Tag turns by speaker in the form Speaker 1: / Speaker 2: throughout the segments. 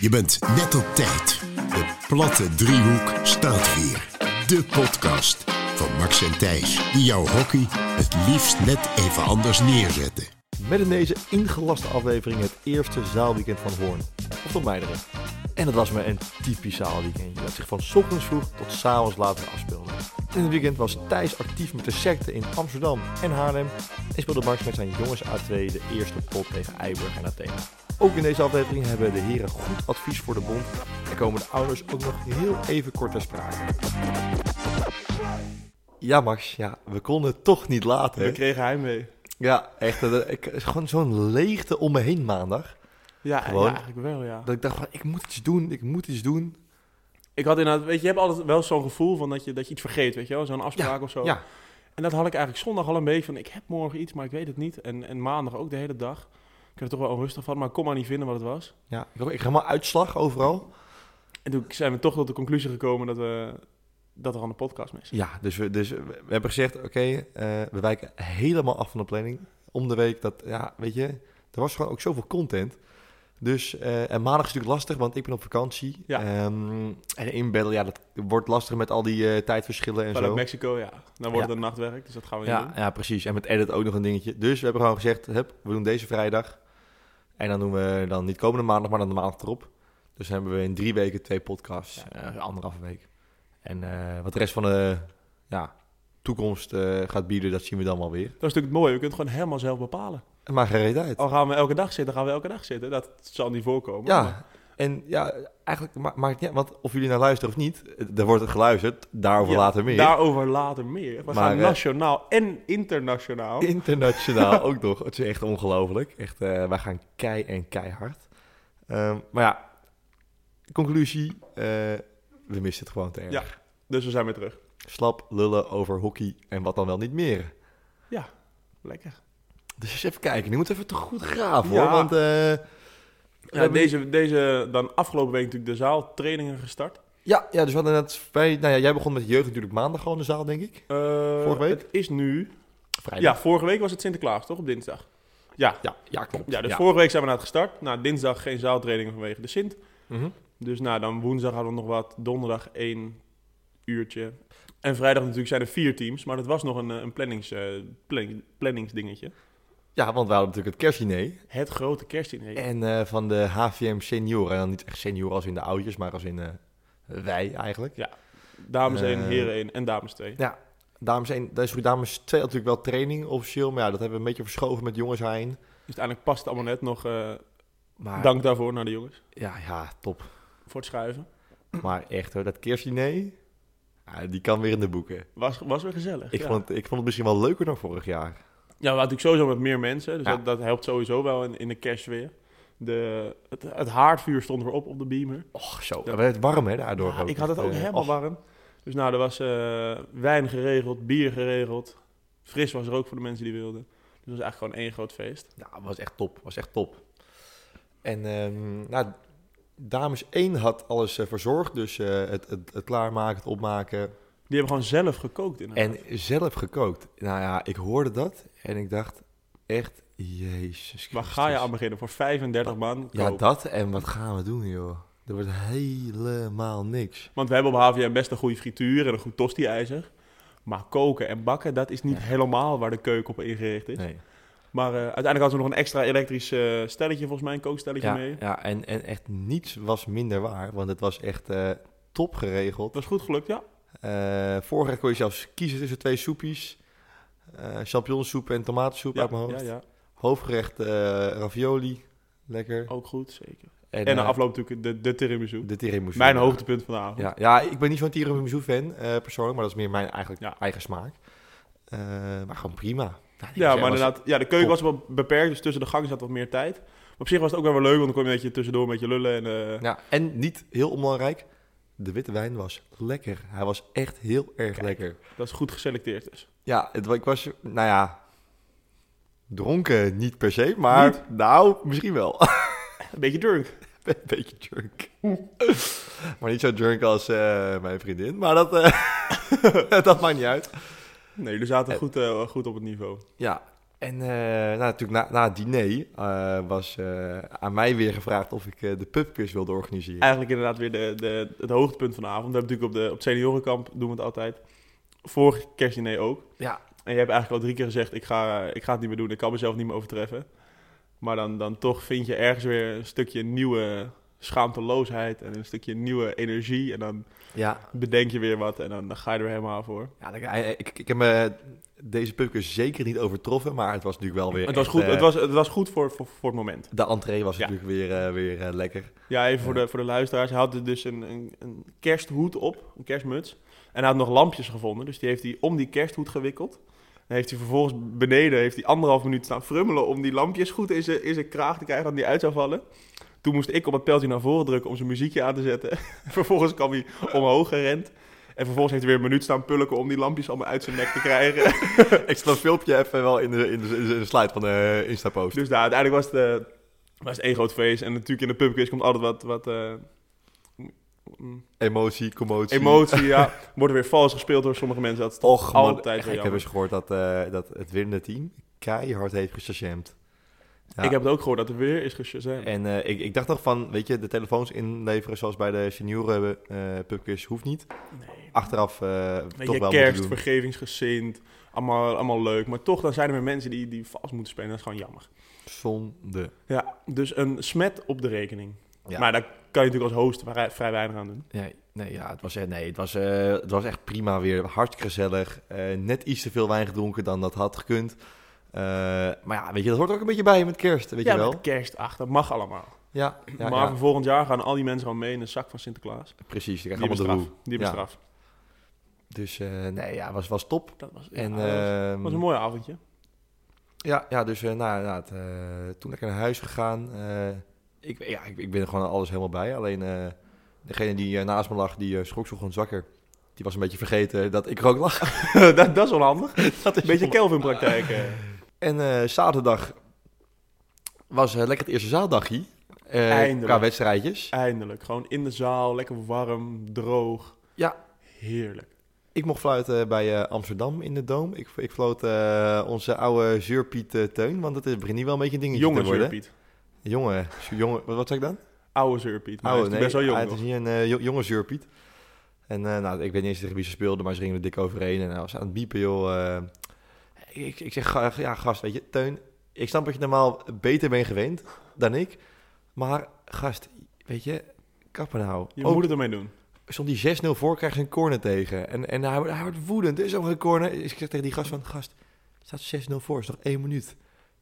Speaker 1: Je bent net op tijd. De platte driehoek staat weer. De podcast van Max en Thijs, die jouw hockey het liefst net even anders neerzetten.
Speaker 2: Met in deze ingelaste aflevering het eerste zaalweekend van Hoorn. Of van Meideren. En het was maar een typisch zaalweekendje dat zich van 's ochtends vroeg tot 's avonds later afspeelde. In het weekend was Thijs actief met de secte in Amsterdam en Haarlem. En speelde Max met zijn jongens A2 de eerste pot tegen Eiburg en Athene. Ook in deze aflevering hebben de heren goed advies voor de bond. En komen de ouders ook nog heel even kort ter sprake. Ja Max, ja, we konden het toch niet laten.
Speaker 3: We kregen heimwee.
Speaker 2: Ja, echt. dat- dat- ik, het is gewoon zo'n leegte om me heen maandag.
Speaker 3: Ja,
Speaker 2: Gewoon?
Speaker 3: ja, eigenlijk wel, ja.
Speaker 2: Dat ik dacht, van, ik moet iets doen, ik moet iets doen.
Speaker 3: Ik had inderdaad, weet je, je hebt altijd wel zo'n gevoel van dat je, dat je iets vergeet, weet je wel, zo'n afspraak of zo.
Speaker 2: Ja,
Speaker 3: En dat had ik eigenlijk zondag al een beetje van, ik heb morgen iets, maar ik weet het niet. En, en maandag ook de hele dag. Ik heb er toch wel onrustig van, maar ik kon maar niet vinden wat het was.
Speaker 2: ja. Ik, ik helemaal uitslag overal.
Speaker 3: En toen zijn we toch tot de conclusie gekomen dat we dat er aan de podcast mis.
Speaker 2: Ja, dus we, dus we we hebben gezegd, oké, eh, we wijken helemaal af van de planning. Om de week, dat, ja, weet je, er was gewoon ook zoveel content. Dus, eh, en maandag is natuurlijk lastig, want ik ben op vakantie.
Speaker 3: Ja.
Speaker 2: Ehm, en inbellen, ja, dat wordt lastig met al die eh, tijdverschillen en
Speaker 3: Maar
Speaker 2: zo.
Speaker 3: ook Mexico, ja. Dan wordt het een nachtwerk, dus dat gaan we niet
Speaker 2: Ja,
Speaker 3: doen.
Speaker 2: ja, precies. En met edit ook nog een dingetje. Dus we hebben gewoon gezegd, hup, we doen deze vrijdag. En dan doen we dan niet komende maandag, maar dan de maandag erop. Dus dan hebben we in drie weken twee podcasts, eh, anderhalve week. En eh, wat de rest van de ja, toekomst eh, gaat bieden, dat zien we dan wel weer.
Speaker 3: Dat is natuurlijk het mooie, je kunt het gewoon helemaal zelf bepalen.
Speaker 2: Maar geen reet uit.
Speaker 3: Al gaan we elke dag zitten, gaan we elke dag zitten. Dat zal niet voorkomen. maar-
Speaker 2: Ja, en ja, eigenlijk ma- maakt het niet uit, want of jullie nou luisteren of niet, eh, er wordt er geluisterd, daarover
Speaker 3: Ja,
Speaker 2: later meer.
Speaker 3: Daarover later meer. We gaan
Speaker 2: eh,
Speaker 3: nationaal en internationaal.
Speaker 2: Internationaal ook nog. Het is echt ongelooflijk. Echt, eh, wij gaan kei en keihard. Ehm, maar ja, conclusie. eh, we missen het gewoon te erg.
Speaker 3: Ja. Dus we zijn weer terug.
Speaker 2: Slap lullen over hockey en wat dan wel niet meer.
Speaker 3: Lekker.
Speaker 2: Dus eens even kijken. Nu moet even toch goed graven hoor.
Speaker 3: Ja.
Speaker 2: Want eh,
Speaker 3: Ja,
Speaker 2: hebben-
Speaker 3: deze, deze dan afgelopen week natuurlijk de zaaltrainingen gestart.
Speaker 2: ja, ja, dus we hadden net bij. Nou ja, jij begon met de jeugd natuurlijk maandag gewoon in de zaal, denk ik.
Speaker 3: Eh,
Speaker 2: Vorige week?
Speaker 3: Het is nu...
Speaker 2: Vrijdag.
Speaker 3: Ja, vorige week was het Sinterklaas, toch? Op dinsdag. Ja,
Speaker 2: Ja, ja klopt.
Speaker 3: ja dus vorige week zijn we naar het gestart. Nou, dinsdag geen zaaltrainingen vanwege de Sint.
Speaker 2: Mhm.
Speaker 3: Dus nou, dan woensdag hadden we nog wat. Donderdag één uurtje. En vrijdag natuurlijk zijn er vier teams. Maar dat was nog een, eh, een plannings, eh, planning, planningsdingetje.
Speaker 2: ja, want we hadden natuurlijk het kerstdiner.
Speaker 3: Het grote kerstdiner.
Speaker 2: En eh, van de HVM senioren. En dan niet echt senior als in de oudjes, maar als in eh, wij eigenlijk.
Speaker 3: Dames één,
Speaker 2: Eh.
Speaker 3: heren één en dames twee.
Speaker 2: Ja, dames 1, daar is voor dames 2 natuurlijk wel training officieel. Maar ja, dat hebben we een beetje verschoven met jongens heen.
Speaker 3: Dus uiteindelijk past het allemaal net nog. eh,
Speaker 2: Maar
Speaker 3: Dank daarvoor naar de jongens.
Speaker 2: ja, ja, top.
Speaker 3: Voor het schuiven.
Speaker 2: Maar echt hoor, dat kerstdiner, ja, die kan weer in de boeken.
Speaker 3: Was, was weer gezellig.
Speaker 2: Ik,
Speaker 3: ja.
Speaker 2: vond het, ik vond het misschien wel leuker dan vorig jaar.
Speaker 3: ja, we hadden natuurlijk sowieso met meer mensen. Dus
Speaker 2: Ja.
Speaker 3: dat, dat helpt sowieso wel in, in de kerst weer. De, het, het haardvuur stond weer op op de beamer.
Speaker 2: Och, zo.
Speaker 3: Ja.
Speaker 2: We werd warm hè, daardoor.
Speaker 3: Ja, ik had het ook
Speaker 2: Eh,
Speaker 3: helemaal
Speaker 2: och,
Speaker 3: warm. Dus nou, er was eh, wijn geregeld, bier geregeld. Fris was er ook voor de mensen die wilden. Dus het was eigenlijk gewoon één groot feest.
Speaker 2: Ja, het nou, was echt top. was echt top. En ehm, nou, dames 1 had alles eh, verzorgd. Dus eh, het, het, het klaarmaken, het opmaken.
Speaker 3: Die hebben gewoon zelf gekookt in
Speaker 2: En zelf gekookt. Nou ja, ik hoorde dat en ik dacht echt, jezus Christus.
Speaker 3: Waar ga je aan beginnen? Voor 35 man
Speaker 2: Ja,
Speaker 3: koken.
Speaker 2: dat en wat gaan we doen, joh. Er wordt helemaal niks.
Speaker 3: Want we hebben op HVM best een goede frituur en een goed tosti-ijzer. Maar koken en bakken, dat is niet helemaal waar de keuken op ingericht is.
Speaker 2: Nee.
Speaker 3: Maar eh, uiteindelijk hadden we nog een extra elektrisch eh, stelletje, volgens mij een kookstelletje
Speaker 2: Ja,
Speaker 3: mee.
Speaker 2: ja en, en echt niets was minder waar, want het was echt eh, top geregeld.
Speaker 3: Dat was goed gelukt, ja.
Speaker 2: Eh voorrecht kon je zelfs kiezen tussen twee soepies. eh champignonsoep en tomatensoep
Speaker 3: Ja,
Speaker 2: uit mijn
Speaker 3: ja,
Speaker 2: hoofd.
Speaker 3: ja.
Speaker 2: Hoofdgerecht eh, ravioli, lekker.
Speaker 3: Ook goed, zeker.
Speaker 2: En,
Speaker 3: Oh, En dan
Speaker 2: eh,
Speaker 3: afloop natuurlijk de, de tiramisu.
Speaker 2: de tiramisu.
Speaker 3: mijn
Speaker 2: Ja.
Speaker 3: hoogtepunt van de avond.
Speaker 2: Ja, ja, ik ben niet zo'n tiramisu fan eh, persoonlijk, maar dat is meer mijn eigenlijk
Speaker 3: Ja.
Speaker 2: eigen smaak. Eh, maar gewoon prima. Nou, die
Speaker 3: Ja,
Speaker 2: was-
Speaker 3: maar inderdaad, ja, de
Speaker 2: top.
Speaker 3: keuken was wel beperkt, dus tussen de gang zat wat meer tijd. Maar op zich was het ook wel weer leuk, want dan kon je een beetje tussendoor met je lullen. En, eh,
Speaker 2: Ja, en niet heel onbelangrijk, de witte wijn was lekker. Hij was echt heel erg
Speaker 3: Kijk.
Speaker 2: lekker.
Speaker 3: Dat is goed geselecteerd dus.
Speaker 2: Ja, het, wa- ik was, nou ja, dronken niet per se, maar nou, misschien wel.
Speaker 3: Een beetje drunk.
Speaker 2: Een beetje drunk. maar niet zo drunk als eh, mijn vriendin, maar dat, eh, dat maakt niet uit.
Speaker 3: Nee, jullie zaten
Speaker 2: Eh.
Speaker 3: goed, eh, goed op het niveau.
Speaker 2: Ja, En eh, nou, natuurlijk na, na het diner eh, was eh, aan mij weer gevraagd of ik eh, de pubquiz wilde organiseren.
Speaker 3: Eigenlijk inderdaad weer de, de, het hoogtepunt van de avond. We hebben natuurlijk op, de, op het seniorenkamp doen we het altijd. Vorig kerstdiner ook.
Speaker 2: Ja.
Speaker 3: En je hebt eigenlijk al drie keer gezegd, ik ga, eh, ik ga het niet meer doen. Ik kan mezelf niet meer overtreffen. Maar dan, dan toch vind je ergens weer een stukje nieuwe schaamteloosheid en een stukje nieuwe energie. En dan
Speaker 2: ja,
Speaker 3: bedenk je weer wat en dan, dan ga je er helemaal voor.
Speaker 2: Ja, ik, ik, ik heb me deze pubquiz zeker niet overtroffen, maar het was natuurlijk wel weer.
Speaker 3: Het was
Speaker 2: echt,
Speaker 3: goed,
Speaker 2: eh,
Speaker 3: het was, het was goed voor, voor, voor het moment.
Speaker 2: De entree was
Speaker 3: Ja.
Speaker 2: natuurlijk weer, eh, weer eh, lekker.
Speaker 3: Ja, even voor de, voor de luisteraars. Hij had dus een, een, een kersthoed op, een kerstmuts. En hij had nog lampjes gevonden, dus die heeft hij om die kersthoed gewikkeld. Dan heeft hij vervolgens beneden heeft hij anderhalf minuut staan frummelen om die lampjes goed in zijn, in zijn kraag te krijgen, dat die uit zou vallen. Toen moest ik op het pijltje naar voren drukken om zijn muziekje aan te zetten. vervolgens kwam hij omhoog gerend. En vervolgens heeft hij weer een minuut staan pulken om die lampjes allemaal uit zijn nek te krijgen.
Speaker 2: ik stel een filmpje even wel in de, in de, in de slide van de Insta-post.
Speaker 3: Dus daar, uiteindelijk was het, eh, was het één groot feest. En natuurlijk in de pubquiz komt altijd wat, wat eh, mm,
Speaker 2: Emotie, commotie.
Speaker 3: emotie. ja. Wordt er weer vals gespeeld door sommige mensen. Dat is toch
Speaker 2: Och, man,
Speaker 3: altijd
Speaker 2: echt,
Speaker 3: weer
Speaker 2: Ik heb
Speaker 3: jammer.
Speaker 2: eens gehoord dat, eh, dat het winnende team keihard heeft gestagend. Ja.
Speaker 3: Ik heb het ook gehoord dat er weer is geshazamd.
Speaker 2: En eh, ik, ik dacht nog van, weet je, de telefoons inleveren zoals bij de senioren eh pubquiz hoeft niet.
Speaker 3: Nee.
Speaker 2: Achteraf eh,
Speaker 3: Weet
Speaker 2: toch
Speaker 3: je,
Speaker 2: wel
Speaker 3: kerst,
Speaker 2: moeten doen.
Speaker 3: vergevingsgezind, allemaal, allemaal leuk. Maar toch, dan zijn er weer mensen die, die vals moeten spelen. Dat is gewoon jammer.
Speaker 2: Zonde.
Speaker 3: Ja, dus een smet op de rekening.
Speaker 2: Ja.
Speaker 3: Maar daar kan je natuurlijk als host vrij, vrij weinig aan doen.
Speaker 2: Nee, nee, ja, het, was, eh, nee het, was, eh, het was echt prima weer. Hartstikke gezellig. Eh, net iets te veel wijn gedronken dan dat had gekund. Eh, maar ja, weet je, dat hoort ook een beetje bij met kerst, weet
Speaker 3: ja,
Speaker 2: je wel.
Speaker 3: met kerst, ach, dat mag allemaal.
Speaker 2: Ja, ja,
Speaker 3: maar
Speaker 2: ja,
Speaker 3: voor volgend jaar gaan al die mensen gewoon mee in de zak van Sinterklaas.
Speaker 2: precies. Die
Speaker 3: Die
Speaker 2: krijgen
Speaker 3: hebben
Speaker 2: allemaal de
Speaker 3: straf.
Speaker 2: roe.
Speaker 3: Die hebben
Speaker 2: Ja.
Speaker 3: straf.
Speaker 2: Dus eh, nee, ja, was, was top.
Speaker 3: Dat was,
Speaker 2: en,
Speaker 3: ja, dat was-
Speaker 2: ehm,
Speaker 3: was een mooi avondje.
Speaker 2: ja, ja, dus eh, nou, nou, het, eh, toen lekker naar huis gegaan. Eh, ik, ja, ik, ik ben er gewoon aan alles helemaal bij. Alleen eh, degene die eh, naast me lag, die eh, schrok zo gewoon zwakker. Die was een beetje vergeten dat ik er ook lag.
Speaker 3: dat, dat is onhandig. Dat is Beetje Kelvin-praktijk. eh.
Speaker 2: En eh, zaterdag was eh, lekker het eerste zaaldagje. Eh,
Speaker 3: Eindelijk.
Speaker 2: Qua wedstrijdjes.
Speaker 3: Eindelijk. Gewoon in de zaal, lekker warm, droog.
Speaker 2: Ja.
Speaker 3: Heerlijk.
Speaker 2: Ik mocht fluiten bij eh, Amsterdam in de Doom. Ik, ik floot eh, onze oude zeurpiet eh, Teun, want het is- begint niet wel een beetje een dingetje
Speaker 3: Jonge
Speaker 2: te worden.
Speaker 3: Zeurpiet.
Speaker 2: Jonge, zeur- jonge, wat, wat zeg ik dan?
Speaker 3: Oude Zeurpiet. Maar hij is best wel jong
Speaker 2: Oh, hij-
Speaker 3: nog.
Speaker 2: het is niet een eh, jo- jonge zeurpiet. En eh, nou, ik weet niet eens tegen wie ze speelden, maar ze gingen er dik overheen. En hij was aan het biepen, joh. eh, ik, ik zeg, ga- ja gast, weet je, Teun, ik snap dat je normaal beter bent gewend dan ik. Maar gast, weet je, kappen nou.
Speaker 3: Je
Speaker 2: Ook-
Speaker 3: moet het ermee doen.
Speaker 2: stond die 6-0 voor, krijgt ze een corner tegen. En, en hij, wordt- hij wordt woedend. Er is ook een corner. Dus ik zeg tegen die gast van, gast, er staat 6-0 voor. is nog één minual minuut.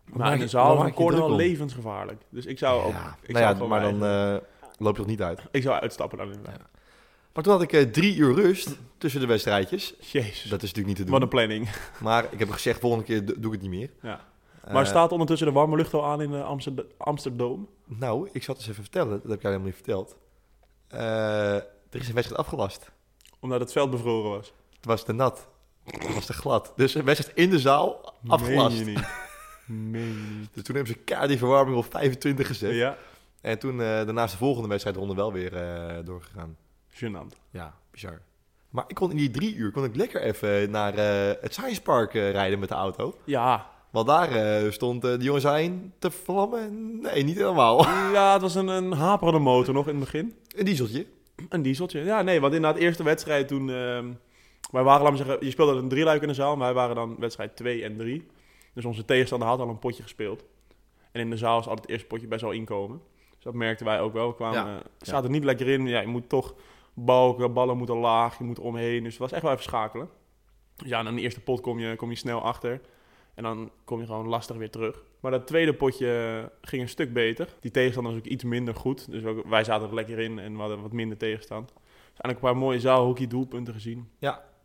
Speaker 2: Waar
Speaker 3: Maar
Speaker 2: maak
Speaker 3: in
Speaker 2: je-
Speaker 3: de
Speaker 2: waar
Speaker 3: zaal is
Speaker 2: maak
Speaker 3: een
Speaker 2: je
Speaker 3: corner
Speaker 2: druk
Speaker 3: al
Speaker 2: om?
Speaker 3: levensgevaarlijk. Dus ik zou ook...
Speaker 2: Ja,
Speaker 3: Ik, zou
Speaker 2: nou ja,
Speaker 3: gewoon
Speaker 2: maar
Speaker 3: mijn
Speaker 2: dan eh,
Speaker 3: eigen-
Speaker 2: loopt het nog niet uit.
Speaker 3: ik zou uitstappen dan inderdaad.
Speaker 2: Maar toen had ik eh, drie uur rust tussen de wedstrijdjes.
Speaker 3: Jezus.
Speaker 2: Dat is natuurlijk niet te doen.
Speaker 3: Wat een planning.
Speaker 2: Maar ik heb gezegd, volgende keer do- doe ik het niet meer.
Speaker 3: Ja.
Speaker 2: Eh,
Speaker 3: maar staat ondertussen de warme lucht al aan in eh, Amsterd- Amsterdam?
Speaker 2: Nou, ik zat eens even vertellen. Dat heb ik jou helemaal niet verteld. Eh, er is een wedstrijd afgelast.
Speaker 3: Omdat het veld bevroren was.
Speaker 2: Het was te nat. Het was te glad. Dus een wedstrijd in de zaal, afgelast.
Speaker 3: Meen je niet. Meen je niet.
Speaker 2: Dus toen hebben ze kaart die verwarming op 25 gezet.
Speaker 3: Ja,
Speaker 2: En toen eh daarnaast de volgende wedstrijdronde wel weer eh, doorgegaan.
Speaker 3: gênant.
Speaker 2: Ja, bizar. Maar ik kon in die drie uur kon ik lekker even naar eh, het Science Park eh, rijden met de auto.
Speaker 3: Ja,
Speaker 2: Want daar eh, stond eh de jongens heen te vlammen. Nee, niet helemaal.
Speaker 3: Ja, het was een, een haperende motor nog in het begin.
Speaker 2: Een dieseltje.
Speaker 3: Een dieseltje. Ja, nee, want inderdaad, eerste wedstrijd toen... ehm, wij waren, laat maar zeggen, je speelde een drieluik in de zaal. Maar wij waren dan wedstrijd 2 en 3. Dus onze tegenstander had al een potje gespeeld. En in de zaal is altijd het eerste potje best wel inkomen. Dus dat merkten wij ook wel. We kwamen,
Speaker 2: Ja,
Speaker 3: eh, zaten er niet lekker in. Ja, je moet toch balken, ballen moeten laag, je moet omheen. Dus het was echt wel even schakelen. Dus ja, en aan de eerste pot kom je, kom je snel achter. En dan kom je gewoon lastig weer terug. Maar dat tweede potje eh, ging een stuk beter. Die tegenstander was ook iets minder goed. Dus ook- wij zaten er lekker in en we hadden wat minder tegenstand. Dus eigenlijk een paar mooie zaalhockey doelpunten gezien.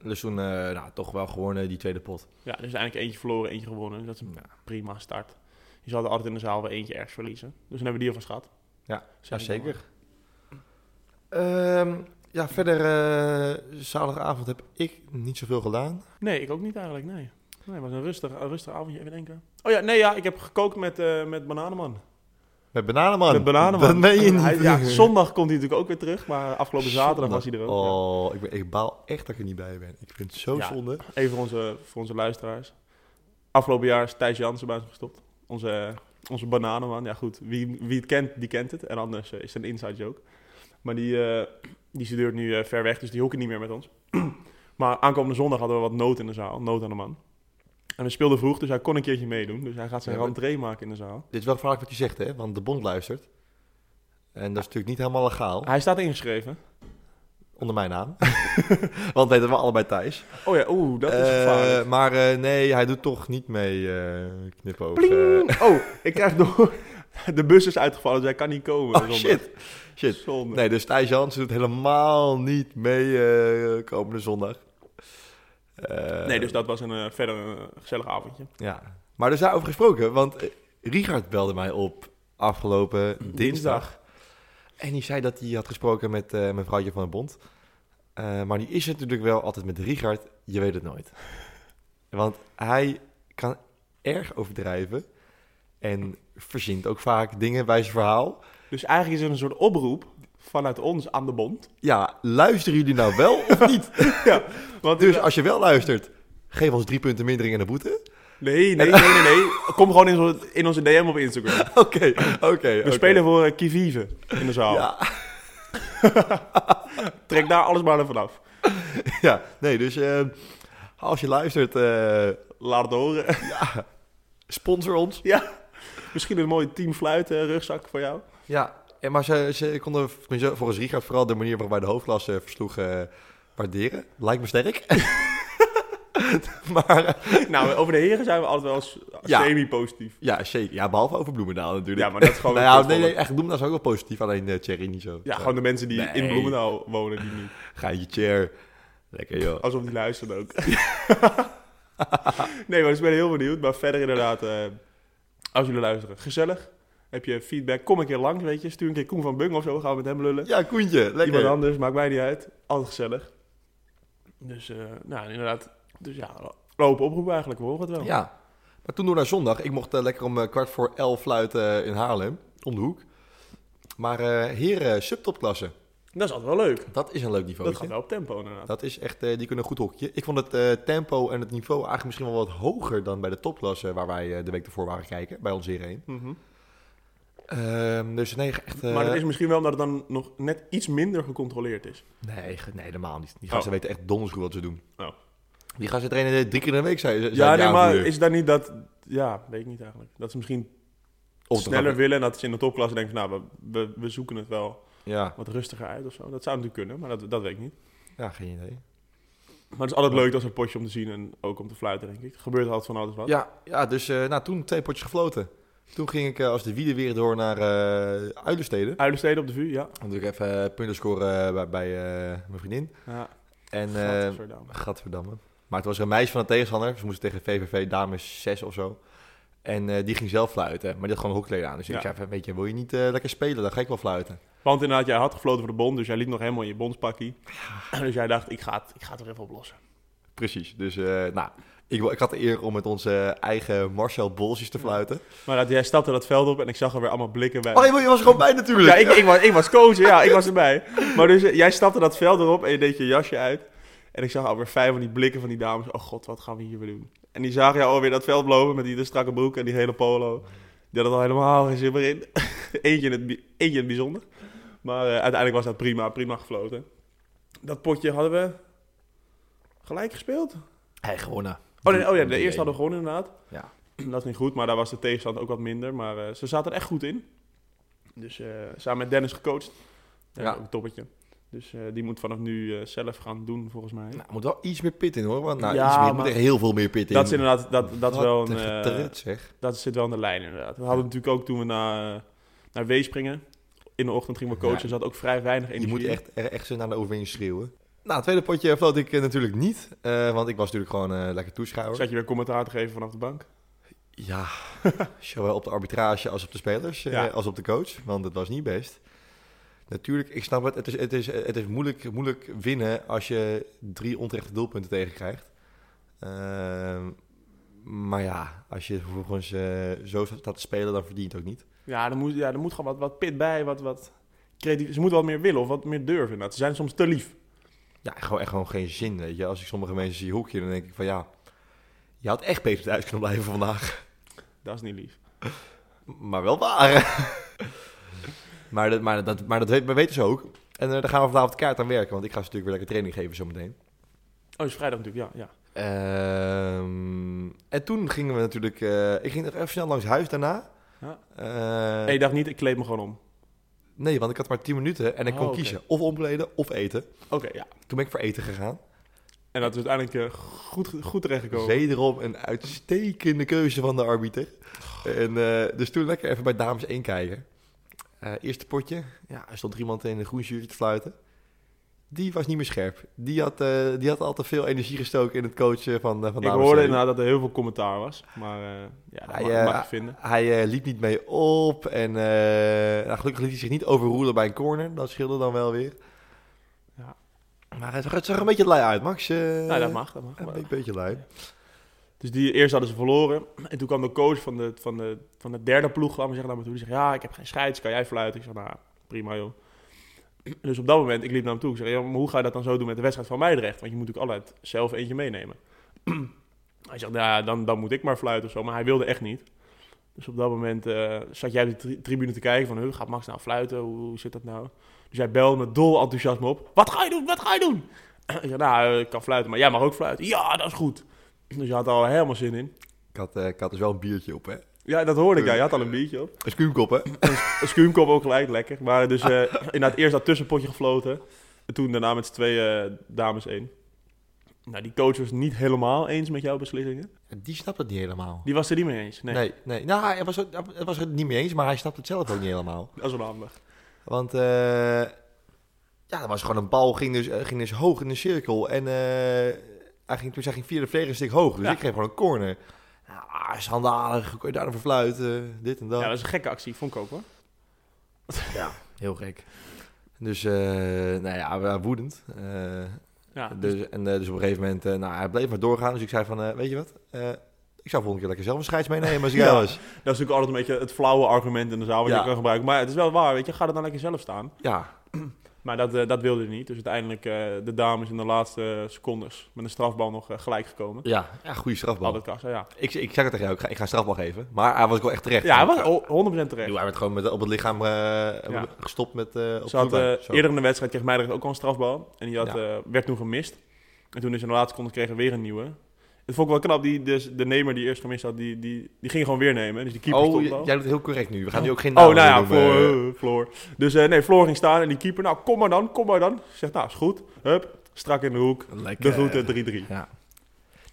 Speaker 2: Dus toen eh, nou, toch wel gewoon eh, die tweede pot.
Speaker 3: Ja, dus eigenlijk eentje verloren, eentje gewonnen. Dus dat is een
Speaker 2: Ja.
Speaker 3: prima start. Je zal er altijd in de zaal weer eentje ergens verliezen. Dus dan hebben we die alvast gehad.
Speaker 2: Ja,
Speaker 3: Zeg ik
Speaker 2: zeker.
Speaker 3: dan maar.
Speaker 2: Ehm, ja, verder eh, zaterdagavond heb ik niet zoveel gedaan.
Speaker 3: Nee, ik ook niet eigenlijk, nee. Nee, het was een rustig, een rustig avondje, even denken. Oh ja, nee ja, ik heb gekookt met, eh, met Bananenman.
Speaker 2: Met Bananenman.
Speaker 3: Met Bananenman.
Speaker 2: Dat meen je niet.
Speaker 3: Hij- ja, zondag komt hij natuurlijk ook weer terug, maar afgelopen zaterdag
Speaker 2: Zondag.
Speaker 3: was hij er ook.
Speaker 2: Oh, ik, ben, ik baal echt dat ik er niet bij ben. Ik vind het zo
Speaker 3: Ja.
Speaker 2: zonde.
Speaker 3: Even voor onze, voor onze luisteraars. Afgelopen jaar is Thijs Jansen bij ons gestopt. Onze, onze bananenman. Ja goed, wie, wie het kent, die kent het. En anders eh, is het een inside joke. Maar die, eh, die studeert nu eh, ver weg, dus die hokken niet meer met ons. maar aankomende zondag hadden we wat nood in de zaal. Nood aan de man. En we speelden vroeg, dus hij kon een keertje meedoen. Dus hij gaat zijn
Speaker 2: Ja, maar-
Speaker 3: rentree maken in de zaal.
Speaker 2: Dit is wel gevaarlijk wat je zegt, hè? Want de bond luistert. En dat is natuurlijk niet helemaal legaal,
Speaker 3: Hij staat ingeschreven.
Speaker 2: onder mijn naam. Want weten we allebei Thijs.
Speaker 3: Oh ja, oeh, dat is
Speaker 2: Eh,
Speaker 3: gevaarlijk.
Speaker 2: maar eh, nee, hij doet toch niet mee, eh knipoog.
Speaker 3: Pling! Oh, ik krijg door. De bus is uitgevallen, dus hij kan niet komen.
Speaker 2: Eh, oh,
Speaker 3: zondag.
Speaker 2: shit. Shit.
Speaker 3: Zonde.
Speaker 2: Nee, dus Thijs Jansen doet helemaal niet mee eh, komende zondag. Eh,
Speaker 3: Nee, dus dat was een eh, verder een gezellig avondje.
Speaker 2: Ja. Maar er is daarover gesproken, want eh, Richard belde mij op afgelopen dinsdag.
Speaker 3: Dinsdag.
Speaker 2: En die zei dat hij had gesproken met eh mevrouwtje van het Bond. Eh, maar die is natuurlijk wel altijd met Richard, je weet het nooit. Want hij kan erg overdrijven en verzint ook vaak dingen bij zijn verhaal.
Speaker 3: Dus eigenlijk is het een soort oproep vanuit ons aan de bond.
Speaker 2: Ja, luisteren jullie nou wel of niet?
Speaker 3: Want
Speaker 2: Dus als je wel luistert, geef ons drie punten mindering en een boete.
Speaker 3: nee, nee, nee, nee, nee. Kom gewoon in, onze- in onze DM op Instagram. We
Speaker 2: Oké, oké. oké.
Speaker 3: spelen voor eh, Kivive in de zaal.
Speaker 2: Ja.
Speaker 3: Trek daar alles maar even af.
Speaker 2: Ja, nee, dus eh, als je luistert, eh,
Speaker 3: Laat het horen.
Speaker 2: sponsor ons.
Speaker 3: ja. Misschien een mooie teamfluit eh, rugzak voor jou.
Speaker 2: Ja, en maar ze, ze konden tenminste, volgens Richard vooral de manier waarop wij de hoofdklasse versloegen eh, waarderen. Lijkt me sterk. maar eh,
Speaker 3: Nou, over de heren zijn we altijd wel eens
Speaker 2: Ja.
Speaker 3: semi-positief.
Speaker 2: ja, zeker. Ja, behalve over Bloemendaal natuurlijk.
Speaker 3: Ja, maar dat is gewoon
Speaker 2: nou,
Speaker 3: een
Speaker 2: ja, nee,
Speaker 3: kutvolle.
Speaker 2: nee, echt, Bloemendaal is ook wel positief, alleen eh Thierry niet zo.
Speaker 3: Ja, gewoon de mensen die in
Speaker 2: Nee.
Speaker 3: Bloemendaal wonen, die niet.
Speaker 2: Ga in je chair. Lekker joh.
Speaker 3: Alsof die luisteren ook. nee, maar dus ik ben heel benieuwd. Maar verder inderdaad, eh, als jullie luisteren, gezellig. Heb je feedback, kom een keer langs, weet je. Stuur een keer Koen van Bung of zo, gaan we met hem lullen.
Speaker 2: Ja, Koentje, lekker.
Speaker 3: Iemand anders, maakt mij niet uit. Altijd gezellig. Dus, eh, nou, inderdaad. Dus ja, lopen oproep eigenlijk, we horen het wel.
Speaker 2: Ja. Maar toen door naar zondag. Ik mocht eh, lekker om eh, kwart voor elf fluiten eh, in Haarlem. Om de hoek. Maar eh heren, subtopklasse.
Speaker 3: Dat is altijd wel leuk.
Speaker 2: Dat is een leuk niveau.
Speaker 3: Dat gaat wel op tempo, inderdaad.
Speaker 2: Dat is echt, eh, die kunnen een goed hokje. Ik vond het eh, tempo en het niveau eigenlijk misschien wel wat hoger dan bij de topklasse waar wij eh, de week ervoor waren kijken, bij ons hierheen.
Speaker 3: Mhm.
Speaker 2: Ehm, dus nee, echt. eh,
Speaker 3: maar dat is misschien wel omdat het dan nog net iets minder gecontroleerd is.
Speaker 2: nee, ge- nee, helemaal niet. Die gasten
Speaker 3: Oh.
Speaker 2: weten echt donders goed wat ze doen.
Speaker 3: Oh.
Speaker 2: Die gasten trainen eh, drie keer in de week, zei, zei
Speaker 3: Ja,
Speaker 2: die
Speaker 3: nee, maar
Speaker 2: aanvoerder.
Speaker 3: is dat niet dat... Ja, weet ik niet eigenlijk. Dat is misschien
Speaker 2: Of dat-
Speaker 3: sneller willen. En dat ze in de topklasse denken van nou, we, we, we zoeken het wel
Speaker 2: Ja,
Speaker 3: wat rustiger uit of zo. Dat zou natuurlijk kunnen, maar dat, dat weet ik niet.
Speaker 2: ja, geen idee.
Speaker 3: Maar het is altijd leuk als een potje om te zien en ook om te fluiten, denk ik. Er gebeurt altijd van alles wat.
Speaker 2: Ja, ja dus eh, nou, toen twee potjes gefloten. Toen ging ik eh, als de wielen weer door naar eh Uilensteden.
Speaker 3: Uilensteden op de vuur, ja.
Speaker 2: Om natuurlijk even eh, punten scoren eh, bij, bij eh, mijn vriendin.
Speaker 3: ja.
Speaker 2: En eh,
Speaker 3: gadverdamme.
Speaker 2: Gadverdamme. Maar het was een meisje van de tegenstander. Ze moesten tegen VVV dames 6 of zo. En eh, die ging zelf fluiten. Maar die had gewoon een hokkleed aan. Dus ik
Speaker 3: Ja.
Speaker 2: zei van, weet je, wil je niet eh, lekker spelen? Dan ga ik wel fluiten.
Speaker 3: Want inderdaad, jij had gefloten voor de bond, dus jij liep nog helemaal in je bondspakkie. Dus jij dacht, ik ga het, ik ga het er even oplossen.
Speaker 2: Precies. Dus eh, nou, ik, wil- ik had de eer om met onze eigen Marcel Bolsjes te fluiten.
Speaker 3: Maar dat, jij stapte dat veld op en ik zag er weer allemaal blikken bij.
Speaker 2: Oh nee, maar je was er gewoon bij natuurlijk.
Speaker 3: ja, ik, ik, was, ik was coach, ja, ik was erbij. Maar dus eh, jij stapte dat veld erop en je deed je jasje uit. En ik zag alweer vijf van die blikken van die dames. Oh god, wat gaan we hier weer doen? En die zagen jou alweer dat veld lopen met die de strakke broek en die hele polo. Die hadden al helemaal geen zin meer in. eentje, in het, bi- eentje in het bijzonder. Maar eh, uiteindelijk was dat prima, prima gefloten. Dat potje hadden we gelijk gespeeld.
Speaker 2: Hij gewonnen.
Speaker 3: Oh, nee, oh ja, de eerste hadden we gewonnen inderdaad.
Speaker 2: Ja.
Speaker 3: Dat is niet goed, maar daar was de tegenstand ook wat minder. Maar eh, ze zaten er echt goed in. Dus eh, samen met Dennis gecoacht. Ja.
Speaker 2: Ja.
Speaker 3: ook Een toppetje. Dus eh, die moet vanaf nu eh, zelf gaan doen, volgens mij.
Speaker 2: Nou, er moet wel iets meer pit in hoor. Want nou,
Speaker 3: Ja,
Speaker 2: iets meer, er moet
Speaker 3: maar-
Speaker 2: echt heel veel meer pit in.
Speaker 3: dat is inderdaad, dat, dat is
Speaker 2: Wat
Speaker 3: wel een,
Speaker 2: een
Speaker 3: eh,
Speaker 2: getred, zeg.
Speaker 3: dat zit wel in de lijn inderdaad. We hadden natuurlijk ook toen we naar, eh, naar Weespringen. In de ochtend gingen we coachen.
Speaker 2: Ja.
Speaker 3: Er zat ook vrij weinig
Speaker 2: Je
Speaker 3: energie.
Speaker 2: moet
Speaker 3: in.
Speaker 2: echt, er- echt zo naar de overwinning schreeuwen. Nou, het tweede potje floot ik eh, natuurlijk niet. eh, want ik was natuurlijk gewoon eh, lekker toeschouwer.
Speaker 3: Zat Dus je weer commentaar te geven vanaf de bank?
Speaker 2: Ja, zowel op de arbitrage als op de spelers, eh,
Speaker 3: Ja.
Speaker 2: als op de coach, want het was niet best. Natuurlijk, ik snap het, het is, het is, het is moeilijk, moeilijk winnen als je drie onterechte doelpunten tegenkrijgt. Ehm, maar ja, als je vervolgens eh, zo staat te spelen, dan verdient het ook niet.
Speaker 3: Ja, er moet, ja, er moet gewoon wat, wat pit bij, wat, wat creatief. Ze moeten wat meer willen of wat meer durven. inderdaad. Ze zijn soms te lief.
Speaker 2: Ja, gewoon echt gewoon geen zin, weet je. Als ik sommige mensen zie hoekje, dan denk ik van ja, Je had echt beter thuis kunnen blijven vandaag.
Speaker 3: Dat is niet lief.
Speaker 2: Maar wel waar. maar, dat, maar, dat, maar dat weet- maar weten ze ook. En eh daar gaan we vanavond kaart aan werken, want ik ga ze natuurlijk weer lekker training geven zometeen.
Speaker 3: Oh, is vrijdag natuurlijk, ja. ja.
Speaker 2: Eh. Ehm, en toen gingen we natuurlijk... eh, ik ging nog even snel langs huis daarna.
Speaker 3: Ja.
Speaker 2: Eh,
Speaker 3: En je dacht niet, ik kleed me gewoon om.
Speaker 2: Nee, want ik had maar 10 minuten en ik kon
Speaker 3: Oh, oké.
Speaker 2: kiezen of omkleden of eten.
Speaker 3: Oké, ja.
Speaker 2: Toen ben ik voor eten gegaan.
Speaker 3: En dat is uiteindelijk eh, goed, goed terechtgekomen.
Speaker 2: Wederom een uitstekende keuze van de arbiter. En, eh, dus toen lekker even bij dames 1 kijken. Eh, eerste potje. Ja, er stond er iemand in een groen shirtje te fluiten. Die was niet meer scherp. Die had, eh, die had al te veel energie gestoken in het coachen van, eh van
Speaker 3: Ik
Speaker 2: dames
Speaker 3: hoorde
Speaker 2: 1.
Speaker 3: inderdaad dat er heel veel commentaar was. Maar eh, ja, dat
Speaker 2: Hij,
Speaker 3: mag,
Speaker 2: eh,
Speaker 3: mag je vinden.
Speaker 2: Hij eh, liep niet mee op. En eh, nou, gelukkig liet hij zich niet overroelen bij een corner. Dat scheelde dan wel weer.
Speaker 3: Ja.
Speaker 2: Maar hij zag, het zag er een beetje lui uit, Max. eh,
Speaker 3: nou, dat mag, dat mag.
Speaker 2: Een beetje lui.
Speaker 3: Dus die eerst hadden ze verloren. En toen kwam de coach van de, van de, van de derde ploeg, laat maar zeggen, naar me toe. Die zegt, ja, ik heb geen scheids, kan jij fluiten? Ik zeg, nou, prima joh. Dus op dat moment, ik liep naar hem toe. Ik zeg, ja, maar hoe ga je dat dan zo doen met de wedstrijd van Meidrecht? Want je moet natuurlijk altijd zelf eentje meenemen. Hij zegt, nou ja, dan, dan moet ik maar fluiten of zo. Maar hij wilde echt niet. Dus op dat moment eh, zat jij op de tri- tribune te kijken van, huh, gaat Max nou fluiten? Hoe, hoe zit dat nou? Dus jij belde me dol enthousiasme op. Wat ga je doen? Wat ga je doen? Ik zeg, nou, eh, ik kan fluiten, maar jij mag ook fluiten. Ja, dat is goed. Dus je had er al helemaal zin in.
Speaker 2: Ik had, eh, ik had dus wel een biertje op, hè.
Speaker 3: Ja, dat hoorde ik. Ja. Je had al een biertje op.
Speaker 2: Een schuimkop, hè.
Speaker 3: Een schuimkop ook gelijk, lekker. Maar dus eh inderdaad eerst dat tussenpotje gefloten. En toen daarna met z'n twee dames één. Nou, die coach was niet helemaal eens met jouw beslissingen.
Speaker 2: Die snapt het niet helemaal.
Speaker 3: Die was er niet mee eens. Nee,
Speaker 2: Nee, nee. Nou, hij was, het- hij was het niet mee eens, maar hij snapt het zelf ook niet helemaal.
Speaker 3: dat is onhandig.
Speaker 2: Want eh, ja, dat was gewoon een bal, ging dus, eh, ging dus hoog in de cirkel. En eh, hij ging, toen zij ging via de vleger een stuk hoog, dus
Speaker 3: Ja.
Speaker 2: ik kreeg gewoon een corner. Nou, ah, schandalig, hoe kun je daarvoor fluiten, dit en dat.
Speaker 3: Ja, dat is een gekke actie, vond ik ook hoor.
Speaker 2: Ja, heel gek. Dus, eh, nou ja, we waren woedend. Eh,
Speaker 3: Ja, dus,
Speaker 2: dus, en, eh, dus op een gegeven moment, eh, nou, hij bleef maar doorgaan. Dus ik zei van, eh, weet je wat, Eh, ik zou volgende keer lekker zelf een scheids meenemen als ik
Speaker 3: Ja.
Speaker 2: jou was.
Speaker 3: dat is natuurlijk altijd een beetje het flauwe argument in de zaal wat
Speaker 2: Ja.
Speaker 3: je kan gebruiken. Maar het is wel waar, weet je. Ga er dan lekker zelf staan.
Speaker 2: Ja,
Speaker 3: Maar dat, eh, dat wilde hij niet. Dus uiteindelijk eh, de dames in de laatste secondes met een strafbal nog eh, gelijk gekomen.
Speaker 2: ja, ja goede strafbal.
Speaker 3: Altijd kassa, ja.
Speaker 2: Ik, ik zeg het tegen jou, ik ga, ik ga een strafbal geven. Maar hij was wel echt terecht.
Speaker 3: Ja, hij was
Speaker 2: Hij-
Speaker 3: o- 100% terecht.
Speaker 2: Hij werd gewoon met, op het lichaam eh, gestopt met... eh, op
Speaker 3: Ze had,
Speaker 2: voetbal.
Speaker 3: eh,
Speaker 2: Zo.
Speaker 3: eerder in de wedstrijd kreeg Meijder ook al een strafbal. En die had,
Speaker 2: Ja.
Speaker 3: eh, werd toen gemist. En toen is in de laatste seconde kregen we weer een nieuwe. Het vond ik wel knap. Die, dus de nemer die eerst gemist had, die, die, die ging gewoon weer nemen. Dus die keeper
Speaker 2: Oh,
Speaker 3: stond
Speaker 2: j-
Speaker 3: al.
Speaker 2: jij doet het heel correct nu. We gaan nu ook geen
Speaker 3: Oh,
Speaker 2: namen
Speaker 3: nou ja,
Speaker 2: noemen, eh.
Speaker 3: Floor. eh, Floor. Dus eh, nee, Floor ging staan en die keeper, nou kom maar dan, kom maar dan. Zegt, nou is goed. Hup, strak in de hoek.
Speaker 2: Lekker.
Speaker 3: De groeten 3-3.
Speaker 2: Ja.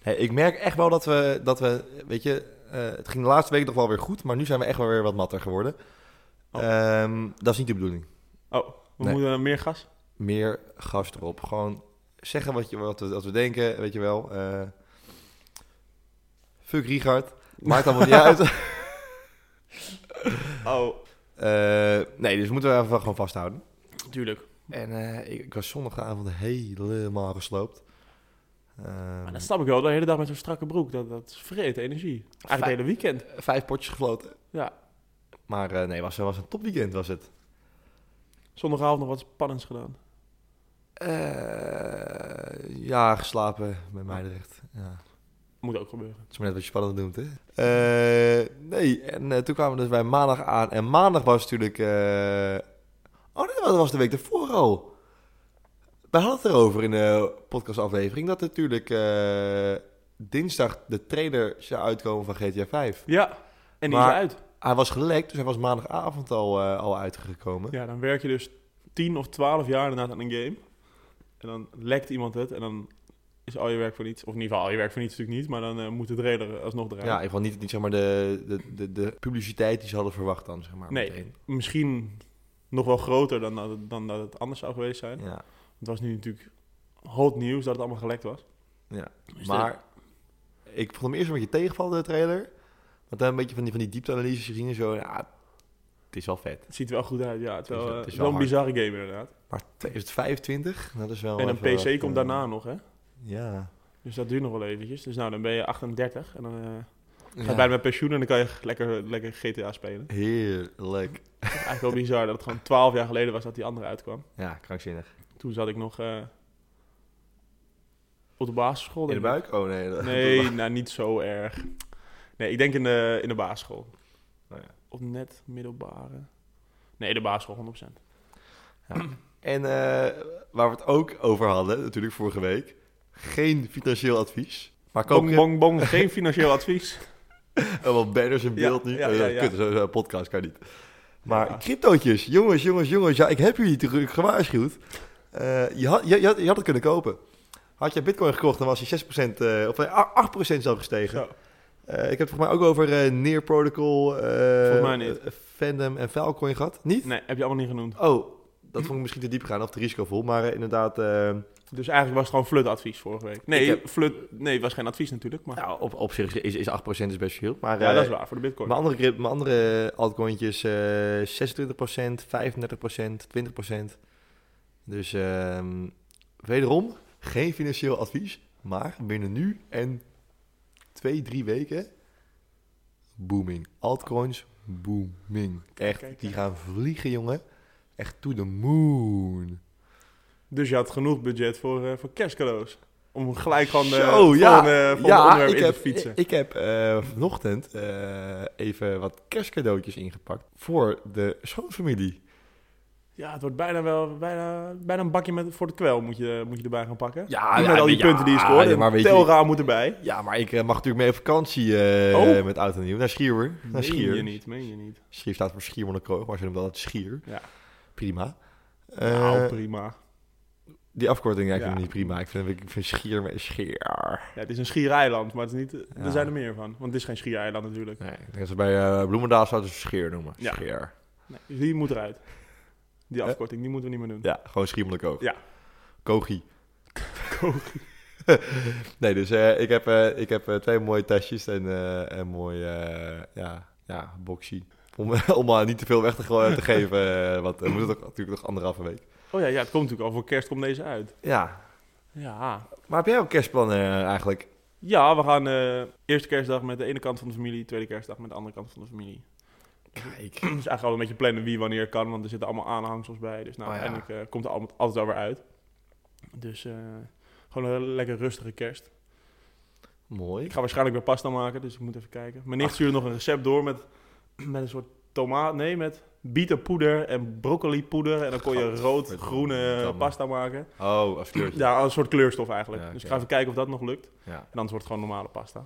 Speaker 2: Nee, ik merk echt wel dat we, dat we weet je, eh, het ging de laatste week nog wel weer goed, maar nu zijn we echt wel weer wat matter geworden.
Speaker 3: Oh.
Speaker 2: Ehm, dat is niet de bedoeling.
Speaker 3: Oh, we
Speaker 2: Nee.
Speaker 3: moeten naar meer gas.
Speaker 2: Meer gas erop. Gewoon zeggen wat, je, wat, we, wat we denken, weet je wel. Eh, fuck Richard. Maakt allemaal niet uit.
Speaker 3: Oh,
Speaker 2: Eh, nee, dus moeten we even gewoon vasthouden.
Speaker 3: tuurlijk.
Speaker 2: En eh, ik, ik was zondagavond helemaal gesloopt. Ehm,
Speaker 3: Maar dat snap ik wel. De hele dag met zo'n strakke broek, dat, dat vreet energie. Eigenlijk het hele weekend.
Speaker 2: Ehm, Vijf potjes gefloten.
Speaker 3: Ja.
Speaker 2: Maar eh, nee, het was, was een topweekend was het.
Speaker 3: Zondagavond nog wat spannends gedaan.
Speaker 2: Eh, ja, geslapen bij Meidrecht. Ja.
Speaker 3: Moet ook gebeuren.
Speaker 2: Het is maar net wat je spannend noemt, hè? Eh, nee, en eh, toen kwamen we dus bij maandag aan. En maandag was natuurlijk... eh, Oh nee, dat was de week ervoor al. We hadden het erover in de podcastaflevering... dat natuurlijk eh, dinsdag de trailer zou uitkomen van GTA 5.
Speaker 3: Ja, en die
Speaker 2: Maar-
Speaker 3: is uit.
Speaker 2: Hij was gelekt, dus hij was maandagavond al, eh, al uitgekomen.
Speaker 3: Ja, dan werk je dus 10 of 12 jaar daarna aan een game. En dan lekt iemand het en dan is al je werk voor niets. Of in ieder geval al je werk voor niets natuurlijk niet, maar dan eh, moet de trailer alsnog eruit.
Speaker 2: Ja, ik wil niet, niet zeg maar de, de, de, de publiciteit die ze hadden verwacht dan, zeg maar.
Speaker 3: Nee.
Speaker 2: meteen.
Speaker 3: Misschien nog wel groter dan dat, het- dan dat het anders zou geweest zijn.
Speaker 2: Ja.
Speaker 3: Het was nu natuurlijk hot nieuws dat het allemaal gelekt was.
Speaker 2: Ja,
Speaker 3: Dus
Speaker 2: Maar ik vond hem eerst een beetje tegenvallen, de trailer. Want dan een beetje van die, van die diepte-analyses gezien en zo. Ja, het is wel vet.
Speaker 3: Het ziet er wel goed uit, ja. Het is wel,
Speaker 2: Het is-
Speaker 3: eh,
Speaker 2: het is
Speaker 3: het is
Speaker 2: wel
Speaker 3: wel een bizarre game inderdaad.
Speaker 2: Maar 2025, dat is wel...
Speaker 3: En een
Speaker 2: even
Speaker 3: PC
Speaker 2: wat, eh,
Speaker 3: komt daarna nog, hè.
Speaker 2: Ja.
Speaker 3: Dus dat duurt nog wel eventjes. Dus nou, dan ben je 38 en dan eh, ga je
Speaker 2: Ja.
Speaker 3: bijna met pensioen en dan kan je lekker, lekker GTA spelen.
Speaker 2: Heerlijk.
Speaker 3: Eigenlijk wel bizar dat het gewoon 12 jaar geleden was dat die andere uitkwam.
Speaker 2: Ja, krankzinnig.
Speaker 3: Toen zat ik nog eh, Op de basisschool?
Speaker 2: In de
Speaker 3: denk ik.
Speaker 2: buik? Oh nee. dat-
Speaker 3: Nee, nou niet zo erg. Nee, ik denk in de, in de basisschool.
Speaker 2: Nou ja.
Speaker 3: Of net middelbare. Nee, de basisschool 100%.
Speaker 2: En eh, waar we het ook over hadden, natuurlijk vorige week. Geen financieel advies. Maar koop
Speaker 3: Bong,
Speaker 2: je
Speaker 3: bong, bong. Geen financieel advies.
Speaker 2: wel banners in
Speaker 3: Ja,
Speaker 2: beeld nu.
Speaker 3: ja,
Speaker 2: Eh,
Speaker 3: ja, ja.
Speaker 2: Kut, zo'n zo'n podcast kan niet. Maar
Speaker 3: Ja.
Speaker 2: cryptootjes, jongens, jongens, jongens. Ja, ik heb jullie natuurlijk gewaarschuwd. Eh, je, had, je, je had, je had het kunnen kopen. Had je bitcoin gekocht, dan was hij 6% eh, of nee, 8% zo gestegen.
Speaker 3: Zo.
Speaker 2: Eh, ik heb het volgens mij ook over eh, Near Protocol, eh,
Speaker 3: Volgens mij niet.
Speaker 2: eh, Fandom en Filecoin gehad. Niet?
Speaker 3: Nee, heb je allemaal niet genoemd.
Speaker 2: Oh, dat vond ik misschien te diep gaan of te risicovol. Maar eh, inderdaad, eh,
Speaker 3: Dus eigenlijk was het gewoon flutadvies vorige week. Nee,
Speaker 2: Ik heb-
Speaker 3: flut, nee, het was geen advies natuurlijk. Maar
Speaker 2: nou, op, op zich is, is 8% is best veel. Maar
Speaker 3: ja,
Speaker 2: eh,
Speaker 3: dat is waar voor de bitcoin.
Speaker 2: Mijn andere, grip- mijn andere altcointjes eh 26%, 35%, 20%. Dus ehm, wederom, geen financieel advies. Maar binnen nu en twee, drie weken, booming. Altcoins, booming. Echt,
Speaker 3: Kijk,
Speaker 2: die
Speaker 3: hè.
Speaker 2: gaan vliegen, jongen. Echt to the moon.
Speaker 3: Dus je had genoeg budget voor, eh, voor kerstcadeaus. Om gelijk gewoon eh
Speaker 2: Zo,
Speaker 3: van,
Speaker 2: ja.
Speaker 3: eh, van de
Speaker 2: ja,
Speaker 3: onderwerp
Speaker 2: ik
Speaker 3: in
Speaker 2: heb,
Speaker 3: te fietsen.
Speaker 2: Ik, ik heb eh, vanochtend eh, even wat kerstcadeautjes ingepakt voor de schoonfamilie.
Speaker 3: Ja, het wordt bijna wel bijna, bijna een bakje met, voor de kwel moet je, moet je erbij gaan pakken.
Speaker 2: Ja,
Speaker 3: Niet
Speaker 2: ja,
Speaker 3: met al die
Speaker 2: ja,
Speaker 3: punten die je scoorde.
Speaker 2: ja,
Speaker 3: Ja,
Speaker 2: maar weet je-
Speaker 3: Telraam moet erbij.
Speaker 2: Ja, maar ik eh, mag natuurlijk mee op vakantie eh,
Speaker 3: Oh.
Speaker 2: met oud en nieuw. Naar Schierwer. Naar
Speaker 3: Meen
Speaker 2: Schier.
Speaker 3: je niet, meen je niet.
Speaker 2: Schier staat voor Schiermonnikoog, maar ze noemen dat Schier.
Speaker 3: Ja.
Speaker 2: Prima.
Speaker 3: nou,
Speaker 2: Eh,
Speaker 3: prima.
Speaker 2: die afkorting, ja, ik vind
Speaker 3: Ja.
Speaker 2: hem niet prima. Ik vind, ik vind Schier met Schier.
Speaker 3: Ja, het is een schiereiland, maar het is niet,
Speaker 2: Ja.
Speaker 3: er zijn er meer van. Want het is geen schiereiland natuurlijk.
Speaker 2: Nee, ik denk dat ze bij eh, Bloemendaal zouden ze Schier noemen.
Speaker 3: Ja.
Speaker 2: Schier.
Speaker 3: Nee, dus die moet eruit. Die
Speaker 2: Eh?
Speaker 3: afkorting, die moeten we niet meer doen.
Speaker 2: Ja, gewoon Schiermonnikoog.
Speaker 3: Ja.
Speaker 2: Kogi. nee, dus eh, ik heb, eh, ik heb eh, twee mooie tasjes en eh, een mooi, eh, ja, ja, boxie. Om, om maar niet te veel weg te, gooien- te geven, eh, want we moeten ook natuurlijk nog anderhalve week.
Speaker 3: Oh ja, ja, het komt natuurlijk al. Voor kerst komt deze uit.
Speaker 2: Ja,
Speaker 3: Ja.
Speaker 2: maar heb jij ook kerstplannen eh, eigenlijk?
Speaker 3: Ja, we gaan eh, eerste kerstdag met de ene kant van de familie, tweede kerstdag met de andere kant van de familie.
Speaker 2: Kijk.
Speaker 3: Dus eigenlijk al een beetje plannen wie wanneer kan, want er zitten allemaal aanhangsels bij. Dus nou,
Speaker 2: Oh ja.
Speaker 3: uiteindelijk eh, komt er al- altijd wel weer uit. Dus eh, gewoon een lekker rustige kerst.
Speaker 2: Mooi.
Speaker 3: Ik ga waarschijnlijk weer pasta maken, dus ik moet even kijken. Mijn nicht stuurde nog een recept door met, met een soort tomaat, nee, met bietenpoeder en broccolipoeder. En dan kon je rood-groene
Speaker 2: Godverdamme.
Speaker 3: pasta maken.
Speaker 2: Oh, als kleurtje.
Speaker 3: Ja, een soort kleurstof eigenlijk.
Speaker 2: Ja,
Speaker 3: Dus ik
Speaker 2: oké.
Speaker 3: ga even kijken of dat nog lukt.
Speaker 2: Ja.
Speaker 3: En anders wordt het gewoon normale pasta.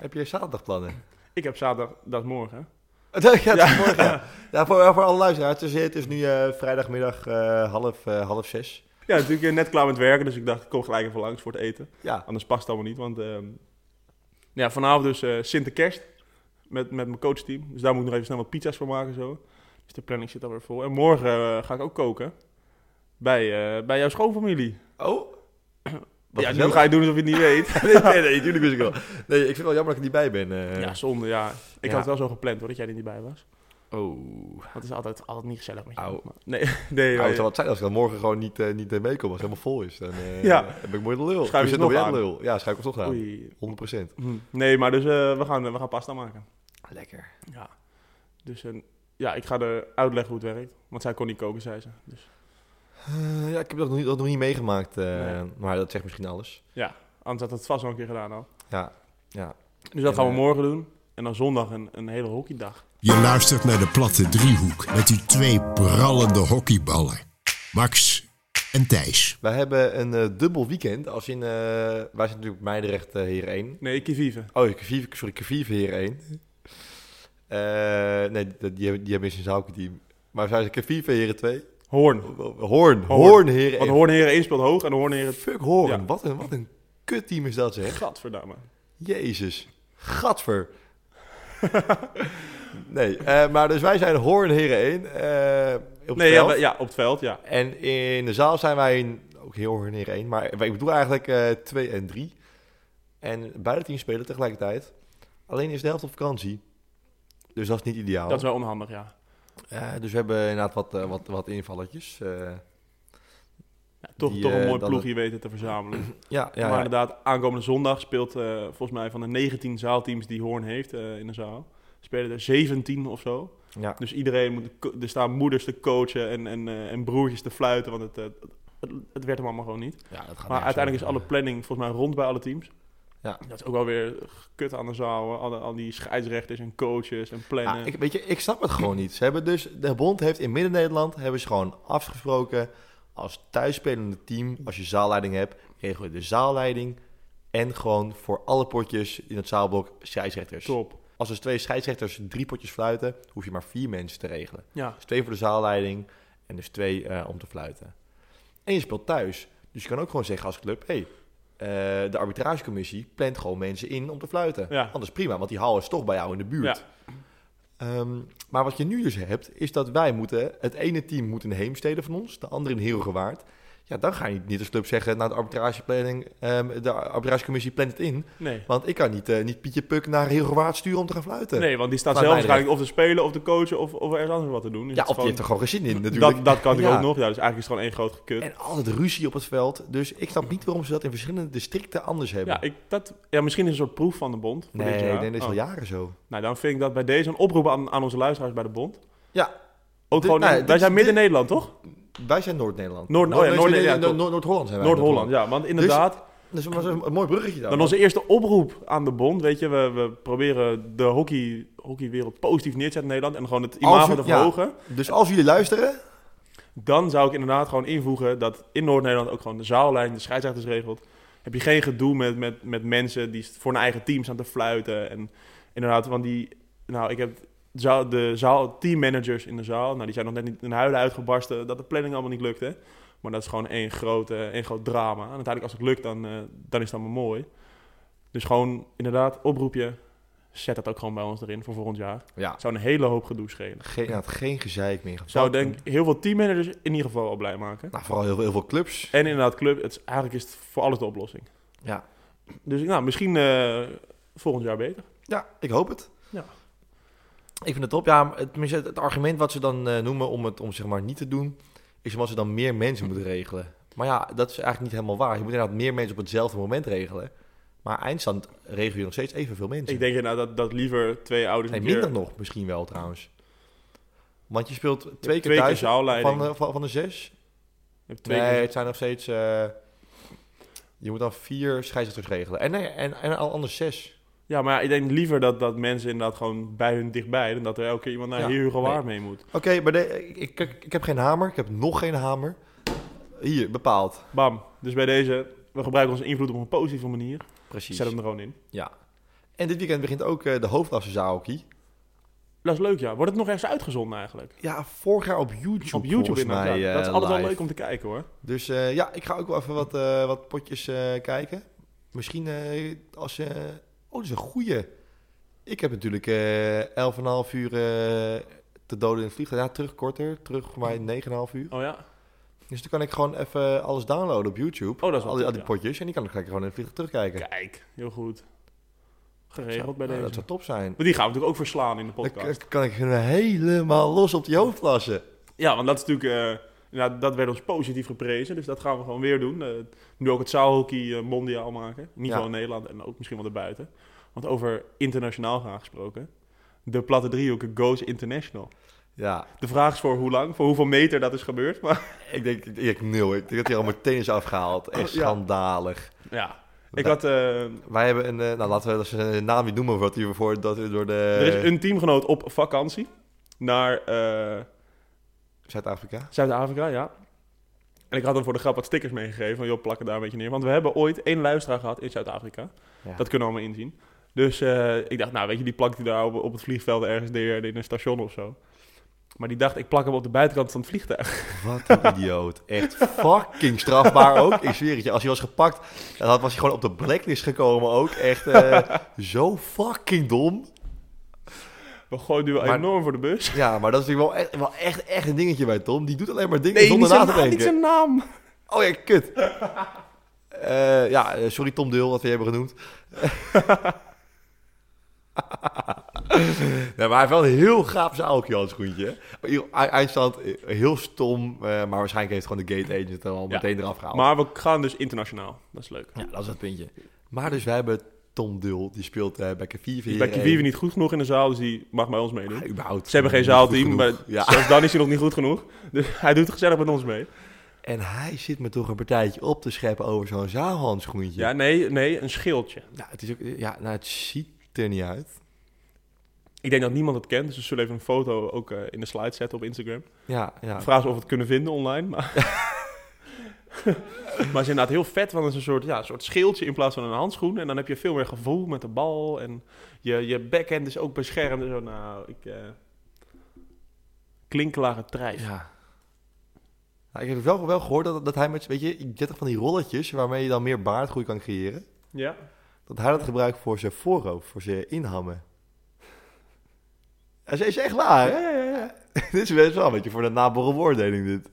Speaker 2: Heb je zaterdag plannen?
Speaker 3: Ik heb zaterdag, dat is morgen.
Speaker 2: ja, dat is morgen. ja. Ja, voor, voor alle luisteraars. Het is, het is nu eh, vrijdagmiddag eh, half, eh, half zes.
Speaker 3: Ja, natuurlijk eh, net klaar met werken, dus ik dacht ik kom gelijk even langs voor het eten.
Speaker 2: Ja.
Speaker 3: Anders past het allemaal niet, want ehm, ja, vanavond dus eh Sinterkerst met, met mijn coachteam. Dus daar moet ik nog even snel wat pizza's voor maken zo. Dus de planning zit alweer vol. En morgen eh, ga ik ook koken bij, eh, bij jouw schoonfamilie.
Speaker 2: Oh.
Speaker 3: ja, nu ga je doen alsof je het niet weet.
Speaker 2: nee, nee, nee, natuurlijk wist ik wel. Nee, ik vind het wel jammer dat ik er niet bij ben. eh.
Speaker 3: ja, zonde, ja.
Speaker 2: Ja.
Speaker 3: Ik had het wel zo gepland hoor, dat jij er niet bij was.
Speaker 2: Oh.
Speaker 3: Want het is altijd, altijd niet gezellig met je.
Speaker 2: Au.
Speaker 3: Maar- Nee, nee.
Speaker 2: Nou,
Speaker 3: nee.
Speaker 2: het zou wat zijn als ik dan morgen gewoon niet, eh, niet eh, meekom, als het helemaal vol is. Dan eh,
Speaker 3: Ja.
Speaker 2: heb ik mooi de lul. Dus
Speaker 3: Schuif je
Speaker 2: Ik zit
Speaker 3: het nog
Speaker 2: weer
Speaker 3: aan.
Speaker 2: de lul. Ja, schuif ik alsnog aan.
Speaker 3: Oei.
Speaker 2: 100%.
Speaker 3: Hm. Nee, maar dus eh, we, gaan, we gaan pasta maken.
Speaker 2: Lekker.
Speaker 3: Ja. Dus eh, ja, ik ga er uitleggen hoe het werkt. Want zij kon niet koken, zei ze. Dus
Speaker 2: ja, ik heb dat nog niet, dat nog niet meegemaakt, eh,
Speaker 3: Nee.
Speaker 2: maar dat zegt misschien alles.
Speaker 3: anders had het vast wel een keer gedaan al.
Speaker 2: Ja, ja.
Speaker 3: Dus dat
Speaker 2: En,
Speaker 3: gaan we
Speaker 2: eh,
Speaker 3: morgen doen. En dan zondag een, een hele hockeydag.
Speaker 1: Je luistert naar de platte driehoek met die twee prallende hockeyballen. Max en Thijs.
Speaker 2: Wij hebben een eh, dubbel weekend, als in, eh, wij zijn natuurlijk Meidrecht eh Heer 1.
Speaker 3: Nee, Kivive.
Speaker 2: Oh, Kviv, sorry, Kviv Heer 1. Eh, nee, dat- die, hebben- die hebben eens een team. Maar zij zijn Kviv Heer 2. Oh,
Speaker 3: Hoorn.
Speaker 2: Hoorn, Hoorn Heer
Speaker 3: Want
Speaker 2: 1.
Speaker 3: Hoornheren 1 speelt hoog en Hoornheren...
Speaker 2: Fuck Hoorn,
Speaker 3: Ja.
Speaker 2: wat, een, wat een kutteam is dat zeg.
Speaker 3: Gadverdamme.
Speaker 2: Jezus, gadver. nee, eh, maar dus wij zijn Hoorn Heren 1. eh, op
Speaker 3: Nee,
Speaker 2: nee,
Speaker 3: ja, we- ja, op het veld, ja.
Speaker 2: En in de zaal zijn wij in- ook heel hoor neer één, maar ik bedoel eigenlijk eh, twee en drie. En beide teams spelen tegelijkertijd. Alleen is de helft op vakantie. Dus dat is niet ideaal.
Speaker 3: Dat is wel onhandig, ja.
Speaker 2: Eh, dus we hebben inderdaad wat, eh, wat, wat invalletjes. eh,
Speaker 3: Ja, toch,
Speaker 2: Die,
Speaker 3: toch
Speaker 2: eh,
Speaker 3: een mooi
Speaker 2: dan
Speaker 3: ploegje weten te verzamelen.
Speaker 2: ja, ja,
Speaker 3: maar
Speaker 2: ja.
Speaker 3: inderdaad, aankomende zondag speelt eh, volgens mij van de 19 zaalteams die Hoorn heeft eh, in de zaal... spelen er 17 of zo.
Speaker 2: ja.
Speaker 3: Dus iedereen moet, er staan moeders te coachen en, en, eh, en broertjes te fluiten, want het, eh, het, het werd hem allemaal gewoon niet.
Speaker 2: Ja, dat gaat
Speaker 3: Maar
Speaker 2: nergens
Speaker 3: uiteindelijk is
Speaker 2: over.
Speaker 3: alle planning volgens mij rond bij alle teams.
Speaker 2: Ja.
Speaker 3: Dat is ook wel weer kut aan de zaal. Al, al die scheidsrechters en coaches en eh, plannen.
Speaker 2: Ah, ik, weet je, ik snap het gewoon niet. Ze hebben dus, de bond heeft in Midden-Nederland hebben ze gewoon afgesproken als thuisspelende team, als je zaalleiding hebt, regel je de zaalleiding en gewoon voor alle potjes in het zaalblok scheidsrechters.
Speaker 3: Top.
Speaker 2: Als dus twee scheidsrechters drie potjes fluiten, hoef je maar vier mensen te regelen.
Speaker 3: Ja.
Speaker 2: Dus twee voor de zaalleiding en dus twee eh, om te fluiten. En je speelt thuis. Dus je kan ook gewoon zeggen als club, hey, eh, de arbitragecommissie plant gewoon mensen in om te fluiten.
Speaker 3: Ja.
Speaker 2: Anders prima, want die hal is toch bij jou in de buurt.
Speaker 3: Ja.
Speaker 2: Ehm, maar wat je nu dus hebt, is dat wij moeten... Het ene team moet in Heemstede van ons, de andere in Heerhugowaard. Ja, dan ga je niet als club zeggen, nou, de, arbitrageplanning, ehm, de arbitragecommissie plant het in.
Speaker 3: Nee.
Speaker 2: Want ik kan niet, eh, niet Pietje Puk naar Heerhugowaard sturen om te gaan fluiten.
Speaker 3: nee, want die staat
Speaker 2: Laat
Speaker 3: zelf
Speaker 2: mij
Speaker 3: waarschijnlijk of te spelen of te coachen of, of ergens anders wat te doen. Dus
Speaker 2: ja,
Speaker 3: het
Speaker 2: of
Speaker 3: is
Speaker 2: die heeft er gewoon geen zin in natuurlijk.
Speaker 3: dat, dat kan natuurlijk
Speaker 2: Ja.
Speaker 3: ook nog. Ja, dus eigenlijk is het gewoon één groot gekut.
Speaker 2: En altijd ruzie op het veld. Dus ik snap niet waarom ze dat in verschillende districten anders hebben.
Speaker 3: Ja, ik, dat, ja, misschien is het een soort proef van de bond. Voor
Speaker 2: nee,
Speaker 3: dit
Speaker 2: ik
Speaker 3: jaar.
Speaker 2: denk dat is al
Speaker 3: Oh.
Speaker 2: jaren zo.
Speaker 3: Nou, dan vind ik dat bij deze een oproep aan, aan onze luisteraars bij de bond.
Speaker 2: Ja.
Speaker 3: Ook
Speaker 2: Dit-
Speaker 3: gewoon,
Speaker 2: nou ja,
Speaker 3: wij
Speaker 2: dit-
Speaker 3: zijn
Speaker 2: dit-
Speaker 3: midden-Nederland, toch?
Speaker 2: Wij zijn Noord-Nederland.
Speaker 3: Noord- oh ja,
Speaker 2: Noord-
Speaker 3: Noord- ja,
Speaker 2: Noord-
Speaker 3: klopt.
Speaker 2: Noord- Noord-Holland Dus- zijn wij.
Speaker 3: Noord-Holland, ja. Want inderdaad,
Speaker 2: Dat is maar zo'n- een mooi bruggetje dan.
Speaker 3: dan onze eerste oproep aan de bond. Weet je, we, we proberen de hockey, hockeywereld positief neer te zetten in Nederland. En gewoon het imago
Speaker 2: je-
Speaker 3: te
Speaker 2: ja.
Speaker 3: verhogen.
Speaker 2: Dus als jullie luisteren,
Speaker 3: Dan zou ik inderdaad gewoon invoegen dat in Noord-Nederland ook gewoon de zaallijn, de scheidsrechters regelt. Heb je geen gedoe met, met, met mensen die voor hun eigen team staan te fluiten. En inderdaad, want die, nou, ik heb de zaal, de zaal, teammanagers in de zaal, nou, die zijn nog net niet in huilen uitgebarsten dat de planning allemaal niet lukte. Maar dat is gewoon één groot, eh, één groot drama. En uiteindelijk, als het lukt, dan, eh, dan is dat maar mooi. Dus gewoon inderdaad, oproep je, zet dat ook gewoon bij ons erin voor volgend jaar.
Speaker 2: ja.
Speaker 3: Zou een hele hoop gedoe schelen.
Speaker 2: Geen, ja, geen gezeik meer.
Speaker 3: Zou denk ik heel veel teammanagers in ieder geval al blij maken.
Speaker 2: Nou, vooral heel, veel- heel veel clubs.
Speaker 3: En inderdaad, club, het, is- eigenlijk is het voor alles de oplossing.
Speaker 2: Ja.
Speaker 3: Dus nou, misschien eh, volgend jaar beter.
Speaker 2: Ja, ik hoop het.
Speaker 3: Ja.
Speaker 2: Ik vind het top. Ja, maar het, tenminste, het, het argument wat ze dan eh, noemen om het om zeg maar niet te doen, is omdat ze dan meer mensen moeten regelen. Maar ja, dat is eigenlijk niet helemaal waar. Je moet inderdaad meer mensen op hetzelfde moment regelen. Maar eindstand regel je nog steeds evenveel mensen.
Speaker 3: Ik denk inderdaad dat, dat liever twee ouders
Speaker 2: nee,
Speaker 3: een
Speaker 2: minder
Speaker 3: keer-
Speaker 2: nog misschien wel trouwens. Want je speelt twee keer
Speaker 3: twee
Speaker 2: thuis
Speaker 3: zaalleiding.
Speaker 2: van, de- van, van de zes.
Speaker 3: Je hebt twee
Speaker 2: nee,
Speaker 3: keer-
Speaker 2: het zijn nog steeds... eh, je moet dan vier scheidsrechters regelen. En, nee, en, en al anders zes.
Speaker 3: Ja, maar ik denk liever dat, dat mensen inderdaad gewoon bij hun dichtbij... dan dat er elke keer iemand naar
Speaker 2: Ja,
Speaker 3: hier Hugo
Speaker 2: nee.
Speaker 3: Waard mee moet.
Speaker 2: Oké, maar de- ik, ik, ik heb geen hamer. Ik heb nog geen hamer. Hier, bepaald.
Speaker 3: Bam. Dus bij deze, we gebruiken onze invloed op een positieve manier.
Speaker 2: Precies.
Speaker 3: Zet hem er gewoon in.
Speaker 2: En dit weekend begint ook eh, de hoofdklasse Zaoki.
Speaker 3: Dat is leuk, ja. Wordt het nog ergens uitgezonden eigenlijk?
Speaker 2: Ja, vorig jaar op YouTube.
Speaker 3: Op YouTube
Speaker 2: volgens
Speaker 3: inderdaad.
Speaker 2: mij,
Speaker 3: ja.
Speaker 2: eh,
Speaker 3: dat is altijd wel
Speaker 2: live.
Speaker 3: leuk om te kijken, hoor.
Speaker 2: Dus eh, ja, ik ga ook wel even wat, eh, wat potjes eh, kijken. Misschien eh, als je. oh, dat is een goeie. Ik heb natuurlijk eh 11,5 uur eh, te doden in het vliegtuig. Ja, terug korter. Terug voor mij 9,5 uur.
Speaker 3: Oh ja?
Speaker 2: Dus dan kan ik gewoon even alles downloaden op YouTube.
Speaker 3: Oh, dat is wel
Speaker 2: al die, al
Speaker 3: top,
Speaker 2: die
Speaker 3: ja.
Speaker 2: potjes. En die kan ik lekker gewoon in het vliegtuig terugkijken.
Speaker 3: Kijk, heel goed.
Speaker 2: Zo,
Speaker 3: Geregeld bij
Speaker 2: nou,
Speaker 3: deze.
Speaker 2: Dat zou top zijn.
Speaker 3: Maar die gaan we natuurlijk ook verslaan in de
Speaker 2: Dan
Speaker 3: podcast.
Speaker 2: k- kan ik helemaal los op die hoofdklasse.
Speaker 3: Ja, want dat is natuurlijk. eh ja, dat werd ons positief geprezen, dus dat gaan we gewoon weer doen. Eh, nu ook het zaalhockey eh, mondiaal maken. Niet
Speaker 2: Ja.
Speaker 3: gewoon in Nederland en ook misschien wel erbuiten. Want over internationaal gaan gesproken. De platte driehoeken goes international.
Speaker 2: Ja,
Speaker 3: De vraag is voor hoe lang, voor hoeveel meter dat is gebeurd. Maar
Speaker 2: ik denk, ik, ik nul. Ik denk dat hij al meteen is afgehaald. Echt
Speaker 3: Oh, Ja.
Speaker 2: schandalig.
Speaker 3: ja, ik had. eh,
Speaker 2: Wij hebben een, eh, nou laten we dat ze de naam niet noemen, wat hier voor dat we door de
Speaker 3: er is een teamgenoot op vakantie naar eh,
Speaker 2: Zuid-Afrika.
Speaker 3: Zuid-Afrika, ja. En ik had hem voor de grap wat stickers meegegeven. Van joh, plak het daar een beetje neer. Want we hebben ooit één luisteraar gehad in Zuid-Afrika.
Speaker 2: Ja.
Speaker 3: Dat kunnen we allemaal inzien. Dus eh, ik dacht, nou weet je, die plakt hij daar op, op het vliegveld ergens neer in een station of zo. Maar die dacht, ik plak hem op de buitenkant van het vliegtuig.
Speaker 2: Wat een idioot. Echt fucking strafbaar ook. Ik zweer het je, als hij was gepakt, dan had- was hij gewoon op de blacklist gekomen ook. Echt eh, zo fucking dom.
Speaker 3: We gooien nu wel
Speaker 2: Maar-
Speaker 3: enorm voor de bus.
Speaker 2: Ja, maar dat is natuurlijk wel echt, wel echt, echt een dingetje bij Tom. Die doet alleen maar dingen
Speaker 3: Nee,
Speaker 2: zonder
Speaker 3: niet
Speaker 2: na
Speaker 3: zijn,
Speaker 2: te
Speaker 3: naam, niet
Speaker 2: denken.
Speaker 3: zijn naam.
Speaker 2: Oh ja, kut. Eh, ja, eh, sorry Tom Deel, wat we je hebben genoemd. nee, maar hij heeft wel een heel gaaf zaalkje aan het schoentje. Maar hier, ei- Eindstand, eh, heel stom, eh, maar waarschijnlijk heeft gewoon de gate agent hem al
Speaker 3: Ja.
Speaker 2: meteen eraf gehaald.
Speaker 3: Maar we gaan dus internationaal. Dat is leuk.
Speaker 2: Ja, dat is het puntje. Maar dus wij hebben Tom Dul, die speelt eh, bij Kavive
Speaker 3: Die is Dus bij Kivive niet goed genoeg in de zaal, dus die mag bij ons meedoen.
Speaker 2: überhaupt
Speaker 3: Ze hebben geen
Speaker 2: niet goed
Speaker 3: zaalteam, maar
Speaker 2: genoeg. Ja.
Speaker 3: zelfs dan is hij nog niet goed genoeg. Dus hij doet gezellig met ons mee.
Speaker 2: En hij zit me toch een partijtje op te scheppen over zo'n zaalhandschoentje.
Speaker 3: Ja, nee, nee, een schildje.
Speaker 2: Nou, het, is ook, ja, nou, het ziet er niet uit.
Speaker 3: Ik denk dat niemand het kent, dus we zullen even een foto ook eh, in de slide zetten op Instagram.
Speaker 2: Ja, ja.
Speaker 3: Vraag ze of we het kunnen vinden online. Maar, maar het is inderdaad heel vet, want het is een soort, ja, een soort schildje in plaats van een handschoen. En dan heb je veel meer gevoel met de bal. En je, je backhand is ook beschermd. en Zo, nou, ik... eh klinklare trijf.
Speaker 2: ja. Nou, ik heb wel, wel gehoord dat, dat hij met, weet je, je hebt toch van die rolletjes waarmee je dan meer baardgroei kan creëren.
Speaker 3: ja.
Speaker 2: Dat hij dat gebruikt voor zijn voorhoofd, voor zijn inhammen. Dat is is echt waar, hè? dit is best wel een beetje voor de naborrelwoordeling dit.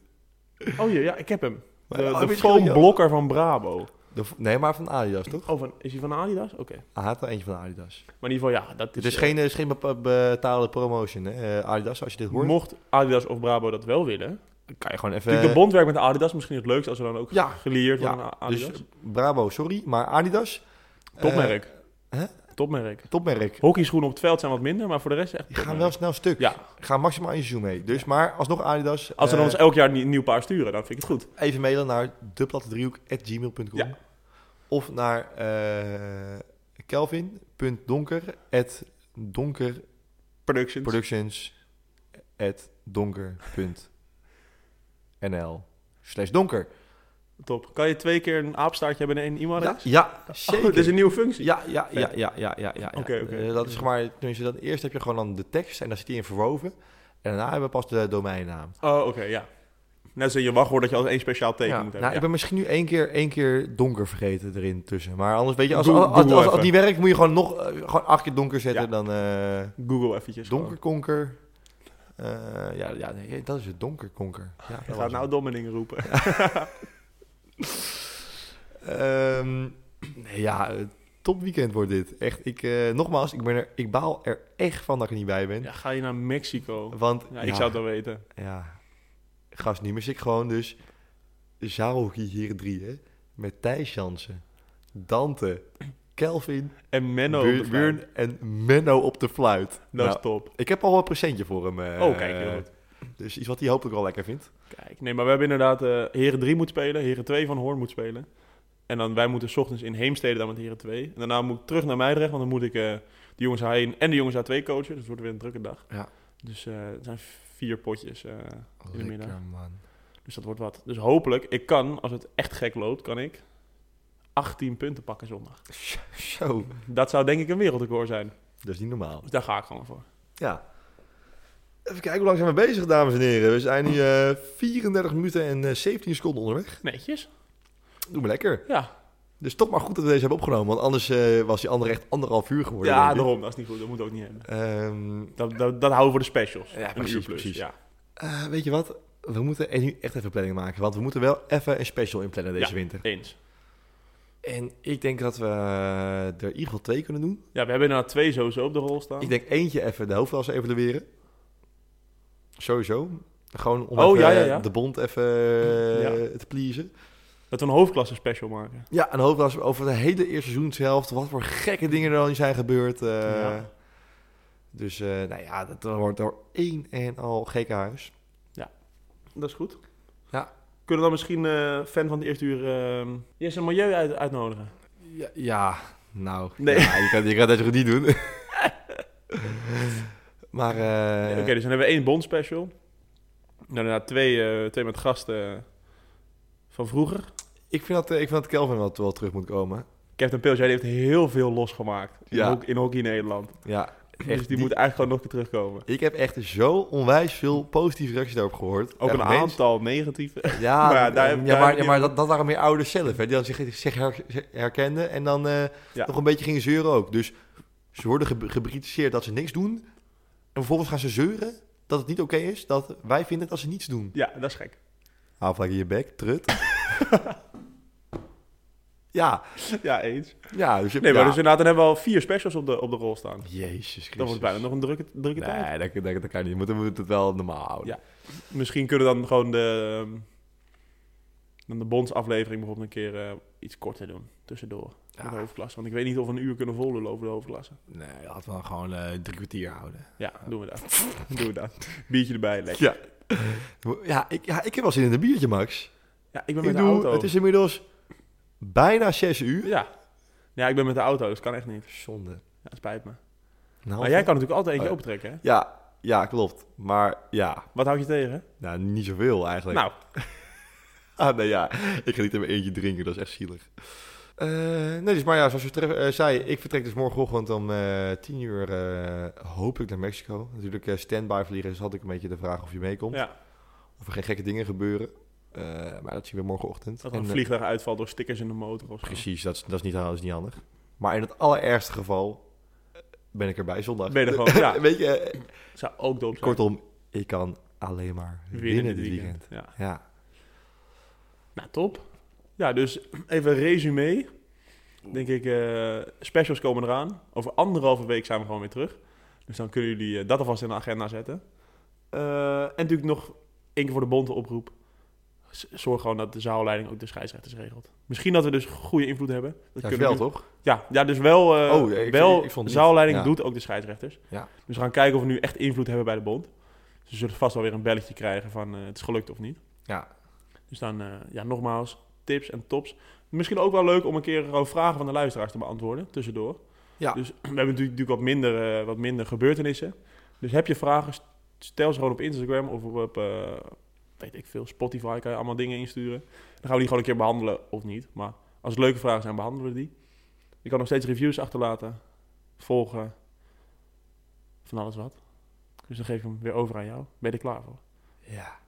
Speaker 3: Oh ja, ja, ik heb hem. De,
Speaker 2: Maar- oh,
Speaker 3: de
Speaker 2: weet je
Speaker 3: foam
Speaker 2: wel,
Speaker 3: blokker van Brabo.
Speaker 2: De v- nee, maar van Adidas, toch?
Speaker 3: Oh, van, is hij van Adidas? Oké.
Speaker 2: Hij had er eentje van Adidas.
Speaker 3: Maar in ieder geval, ja, dat is...
Speaker 2: Dit is
Speaker 3: eh,
Speaker 2: geen, eh, is geen be- betaalde promotion, hè? eh, Adidas, als je dit hoort.
Speaker 3: Mocht Adidas of Brabo dat wel willen...
Speaker 2: kan je gewoon even...
Speaker 3: Natuurlijk, de bond werkt met Adidas misschien het leukst als we dan ook
Speaker 2: Eh, Ja,
Speaker 3: geleerd
Speaker 2: ja,
Speaker 3: worden aan Adidas.
Speaker 2: Dus Bravo, sorry, maar Adidas... eh,
Speaker 3: Topmerk.
Speaker 2: hè?
Speaker 3: Topmerk.
Speaker 2: eh, topmerk.
Speaker 3: Hockeyschoenen op het veld zijn wat minder, maar voor de rest echt
Speaker 2: Die gaan
Speaker 3: topmerk.
Speaker 2: wel snel stuk.
Speaker 3: Ja,
Speaker 2: Gaan maximaal in seizoen mee. Dus, maar alsnog Adidas...
Speaker 3: als ze dan
Speaker 2: eh,
Speaker 3: ons elk jaar een nieuw- nieuw paar sturen, dan vind ik het goed.
Speaker 2: Even mailen naar deplattedriehoek.gmail.com
Speaker 3: Ja.
Speaker 2: Of naar eh kelvin.donker.donkerproductions.donker.nl
Speaker 3: Productions.
Speaker 2: slash donker.
Speaker 3: Top. Kan je twee keer een aapstaartje hebben in één iemand?
Speaker 2: Ja, ja,
Speaker 3: Oh, dit
Speaker 2: zeker.
Speaker 3: is een nieuwe functie.
Speaker 2: Ja, ja, ja, ja, ja, ja. ja.
Speaker 3: Oké, oké.
Speaker 2: Eh, dat is gewoon maar, tenminste, dat, eerst heb je gewoon dan de tekst en daar zit die in verwoven. En daarna hebben we pas de domeinnaam.
Speaker 3: Oh, oké, ja. Net als in je wachtwoord dat je altijd één speciaal teken
Speaker 2: Ja,
Speaker 3: moet hebben.
Speaker 2: nou, ik ben misschien nu één keer, één keer donker vergeten erin tussen. Maar anders weet je, als,
Speaker 3: Doe-
Speaker 2: als, als,
Speaker 3: doe
Speaker 2: als- als
Speaker 3: even.
Speaker 2: die werkt, moet je gewoon nog eh, gewoon acht keer donker zetten.
Speaker 3: Ja.
Speaker 2: Dan eh
Speaker 3: Ja. Google eventjes. gewoon.
Speaker 2: donkerkonker. Eh, ja, ja, nee, dat is het donkerkonker. Ja,
Speaker 3: Je
Speaker 2: dat
Speaker 3: gaat
Speaker 2: was
Speaker 3: nou
Speaker 2: het.
Speaker 3: domme dingen roepen.
Speaker 2: Ehm, nee, ja, eh, topweekend wordt dit. Echt, ik, eh, nogmaals, ik, ben er, ik baal er echt van dat ik er niet bij ben.
Speaker 3: Ja, ga je naar Mexico?
Speaker 2: Want
Speaker 3: Ja, ik zou het wel weten.
Speaker 2: Ja, gast, nu mis ik gewoon dus Zauki hier drie, hè. Met Thijs Jansen, Dante, Kelvin,
Speaker 3: En Menno. op de
Speaker 2: Bur-
Speaker 3: vijf.
Speaker 2: Buurn en Menno op de fluit.
Speaker 3: Dat
Speaker 2: Nou,
Speaker 3: is top.
Speaker 2: ik heb al wel een presentje voor hem. eh,
Speaker 3: Oh, kijk, heel goed.
Speaker 2: Dus iets wat hij hopelijk wel lekker vindt.
Speaker 3: Kijk, nee, maar we hebben inderdaad eh Heren 3 moet spelen, Heren 2 van Hoorn moet spelen. En dan wij moeten 's ochtends in Heemstede dan met Heren 2. En daarna moet ik terug naar Meidrecht, want dan moet ik eh, de jongens H1 en de jongens H2 coachen. Dus het wordt weer een drukke dag.
Speaker 2: Ja.
Speaker 3: Dus eh, het zijn vier potjes. eh, de
Speaker 2: Lekker,
Speaker 3: middag.
Speaker 2: man.
Speaker 3: dus dat wordt wat. Dus hopelijk, ik kan, als het echt gek loopt, kan ik 18 punten pakken zondag.
Speaker 2: Zo, Zo.
Speaker 3: Dat zou denk ik een wereldrecord zijn.
Speaker 2: Dat is niet normaal.
Speaker 3: Dus daar ga ik gewoon voor.
Speaker 2: Ja. Even kijken, hoe lang zijn we bezig, dames en heren? We zijn nu eh, 34 minuten en eh, 17 seconden onderweg.
Speaker 3: Netjes.
Speaker 2: Doe me lekker.
Speaker 3: Ja,
Speaker 2: Dus toch maar goed dat we deze hebben opgenomen, want anders eh, was die andere echt anderhalf uur geworden.
Speaker 3: ja
Speaker 2: denk ik.
Speaker 3: daarom. Dat is niet goed. Dat moet ik ook niet hebben.
Speaker 2: Ehm,
Speaker 3: Dat, dat, dat houden we voor de specials.
Speaker 2: Ja,
Speaker 3: Een
Speaker 2: precies,
Speaker 3: uur plus,
Speaker 2: precies.
Speaker 3: Ja.
Speaker 2: eh, weet je wat? We moeten er nu echt even planning maken, want we moeten wel even een special inplannen deze
Speaker 3: Ja.
Speaker 2: winter.
Speaker 3: Eens.
Speaker 2: En ik denk dat we eh, er in ieder geval twee kunnen doen.
Speaker 3: Ja, we hebben inderdaad twee sowieso op de rol staan.
Speaker 2: Ik denk eentje even de hoofdwels evalueren. Sowieso. Gewoon om
Speaker 3: Oh,
Speaker 2: even,
Speaker 3: ja, ja, ja.
Speaker 2: eh, de bond even eh,
Speaker 3: Ja.
Speaker 2: te pleasen.
Speaker 3: Dat we een hoofdklasse special maken.
Speaker 2: Ja, en hoofdwels over de hele eerste seizoenshelft. Wat voor gekke dingen er al niet zijn gebeurd. eh.
Speaker 3: Ja.
Speaker 2: Dus eh, nou ja, dat wordt door één en al gekke huis.
Speaker 3: Dat is goed.
Speaker 2: Ja.
Speaker 3: Kunnen we dan misschien eh, fan van de eerste uur ehm Jesse Milieu uit, uitnodigen?
Speaker 2: Ja, ja, nou.
Speaker 3: Nee.
Speaker 2: Ja, je, kan, je kan dat goed niet doen. maar, eh,
Speaker 3: Oké, dus dan hebben we één Bond special. Dan inderdaad twee, eh, twee met gasten van vroeger.
Speaker 2: ik, vind dat, eh, ik vind dat Kelvin wel, wel terug moet komen.
Speaker 3: Captain Pils, jij die heeft heel veel losgemaakt in,
Speaker 2: Ja.
Speaker 3: hoc- in Hockey Nederland.
Speaker 2: Ja, echt,
Speaker 3: dus die,
Speaker 2: die-
Speaker 3: moet eigenlijk gewoon nog een keer terugkomen.
Speaker 2: Ik heb echt zo onwijs veel positieve reacties daarop gehoord.
Speaker 3: Ook
Speaker 2: Echt
Speaker 3: een
Speaker 2: mensen-
Speaker 3: aantal negatieve.
Speaker 2: Ja,
Speaker 3: Maar ja,
Speaker 2: d-
Speaker 3: daar-
Speaker 2: ja,
Speaker 3: daar-
Speaker 2: maar, ja, maar dat, dat waren meer ouders zelf. Hè, die dan zich, zich her- herkenden en dan eh,
Speaker 3: Ja.
Speaker 2: nog een beetje gingen zeuren ook. Dus ze worden ge gebekritiseerd dat ze niks doen. En vervolgens gaan ze zeuren dat het niet oké is. Dat wij vinden dat ze niets doen.
Speaker 3: Ja, dat is gek.
Speaker 2: Haal vlak in je bek, trut. ja,
Speaker 3: Ja, eens.
Speaker 2: ja. Dus, je-
Speaker 3: Nee, maar
Speaker 2: ja.
Speaker 3: dus inderdaad, dan hebben we al vier specials op de, op de rol staan.
Speaker 2: Jezus Christus.
Speaker 3: Dan wordt het bijna nog een drukke, drukke tijd.
Speaker 2: Nee, dat, kan- dat, dat kan niet. We moeten, we moeten het wel normaal houden.
Speaker 3: Ja. Misschien kunnen we dan gewoon de, ehm, dan de bondsaflevering bijvoorbeeld een keer eh, iets korter doen. Tussendoor. Met de
Speaker 2: Ja.
Speaker 3: hoofdklasse. Want ik weet niet of we een uur kunnen voldoen over de hoofdklasse.
Speaker 2: Nee, laten we gewoon eh, drie kwartier houden.
Speaker 3: Ja, doen we dat. doen we dat. Biertje erbij, lekker.
Speaker 2: Ja, ik, ja, ik heb wel zin in een biertje, Max.
Speaker 3: Ja, ik
Speaker 2: Ik
Speaker 3: ben met de
Speaker 2: doe,
Speaker 3: auto.
Speaker 2: het is inmiddels bijna 6 uur.
Speaker 3: Ja. Ja, ik ben met de auto, dus kan echt niet.
Speaker 2: Zonde.
Speaker 3: Ja, spijt me.
Speaker 2: Nou,
Speaker 3: Maar jij kan natuurlijk altijd eentje
Speaker 2: Oh.
Speaker 3: optrekken, hè?
Speaker 2: Ja, ja, klopt. Maar ja,
Speaker 3: Wat houd je tegen?
Speaker 2: nou, niet zoveel eigenlijk.
Speaker 3: Nou,
Speaker 2: Ah, nee, ja. Ik ga niet in mijn eentje drinken, dat is echt zielig. Eh, nee, dus maar ja, zoals je tref- eh, zei, ik vertrek dus morgenochtend om eh 10 uur eh, hopelijk naar Mexico. Natuurlijk eh standby vliegen, dus had ik een beetje de vraag of je meekomt.
Speaker 3: ja,
Speaker 2: Of er geen gekke dingen gebeuren. Eh, maar dat zien we morgenochtend.
Speaker 3: dat
Speaker 2: En,
Speaker 3: een
Speaker 2: eh,
Speaker 3: vliegtuig uitvalt door stickers in de motor of zo.
Speaker 2: Precies, dat is, dat, is niet, dat is niet handig. Maar in het allerergste geval eh, ben ik erbij zondag.
Speaker 3: Ben je er gewoon, ja.
Speaker 2: Weet je, eh,
Speaker 3: Zou ook dood zijn.
Speaker 2: kortom, ik kan alleen maar winnen,
Speaker 3: Winnen
Speaker 2: dit weekend.
Speaker 3: Ja.
Speaker 2: Ja.
Speaker 3: Nou, top. Ja, dus even resume. Denk ik, eh, specials komen eraan. Over anderhalve week zijn we gewoon weer terug. Dus dan kunnen jullie eh, dat alvast in de agenda zetten. Eh, en natuurlijk nog één keer voor de bonte oproep. Z- Zorg gewoon dat de zaalleiding ook de scheidsrechters regelt. Misschien dat we dus goede invloed hebben. Dat
Speaker 2: Ja,
Speaker 3: kunnen
Speaker 2: wel
Speaker 3: we-
Speaker 2: toch?
Speaker 3: Ja, ja, dus wel, eh
Speaker 2: Oh, ja, ik-
Speaker 3: wel
Speaker 2: ik- ik vond het niet.
Speaker 3: zaalleiding
Speaker 2: Ja.
Speaker 3: doet ook de scheidsrechters.
Speaker 2: Ja.
Speaker 3: Dus we gaan kijken of we nu echt invloed hebben bij de bond. Ze zullen vast wel weer een belletje krijgen van eh, het is gelukt of niet.
Speaker 2: Ja,
Speaker 3: Dus dan, eh, ja, nogmaals, tips en tops. Misschien ook wel leuk om een keer gewoon vragen van de luisteraars te beantwoorden, tussendoor.
Speaker 2: Ja.
Speaker 3: Dus we hebben natuurlijk, natuurlijk wat, minder, eh, wat minder gebeurtenissen. Dus heb je vragen, st- stel ze gewoon op Instagram of op, op, eh, weet ik veel, Spotify kan je allemaal dingen insturen. Dan gaan we die gewoon een keer behandelen of niet. Maar als het leuke vragen zijn, behandelen we die. Je kan nog steeds reviews achterlaten, volgen, van alles wat. Dus dan geef ik hem weer over aan jou. Ben je er klaar voor?
Speaker 2: Ja.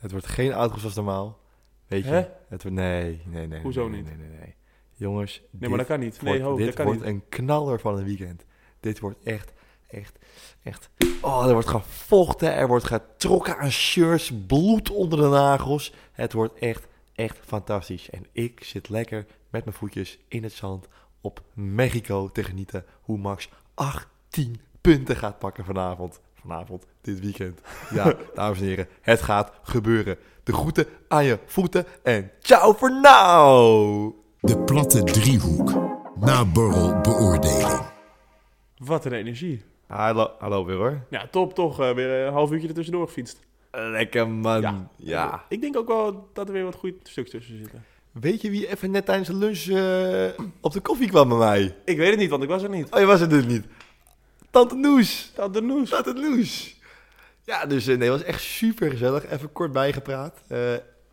Speaker 2: Het wordt geen outro zoals normaal. Weet je?
Speaker 3: Hè?
Speaker 2: Het wordt, nee, nee, nee.
Speaker 3: Hoezo
Speaker 2: nee,
Speaker 3: niet?
Speaker 2: Nee, nee, nee. nee. Jongens, dit
Speaker 3: Nee, maar dat kan niet. Nee,
Speaker 2: wordt,
Speaker 3: ho,
Speaker 2: dit
Speaker 3: dat kan
Speaker 2: wordt
Speaker 3: niet.
Speaker 2: een knaller van een weekend. Dit wordt echt, echt, echt... Oh, er wordt gevochten, er wordt getrokken aan shirts, bloed onder de nagels. Het wordt echt, echt fantastisch. En ik zit lekker met mijn voetjes in het zand op Mexico te genieten hoe Max 18 punten gaat pakken vanavond. Vanavond, dit weekend. Ja, dames en heren, het gaat gebeuren. De groeten aan je voeten en ciao voor now!
Speaker 1: De platte driehoek. Naborrel beoordeling.
Speaker 3: Wat een energie.
Speaker 2: Hallo, hallo weer hoor.
Speaker 3: Ja, top toch. eh, weer een half uurtje ertussendoor gefietst.
Speaker 2: Lekker man. Ja.
Speaker 3: Ik denk ook wel dat er weer wat goede stuks tussen zitten.
Speaker 2: Weet je wie even net tijdens de lunch eh, op de koffie kwam bij mij?
Speaker 3: Ik weet het niet, want ik was er niet.
Speaker 2: Oh, je was het dus niet. Tante Noes.
Speaker 3: Dat de nieuws.
Speaker 2: Tante Noes. Ja, dus eh, nee, het was echt super gezellig. Even kort bijgepraat. Eh,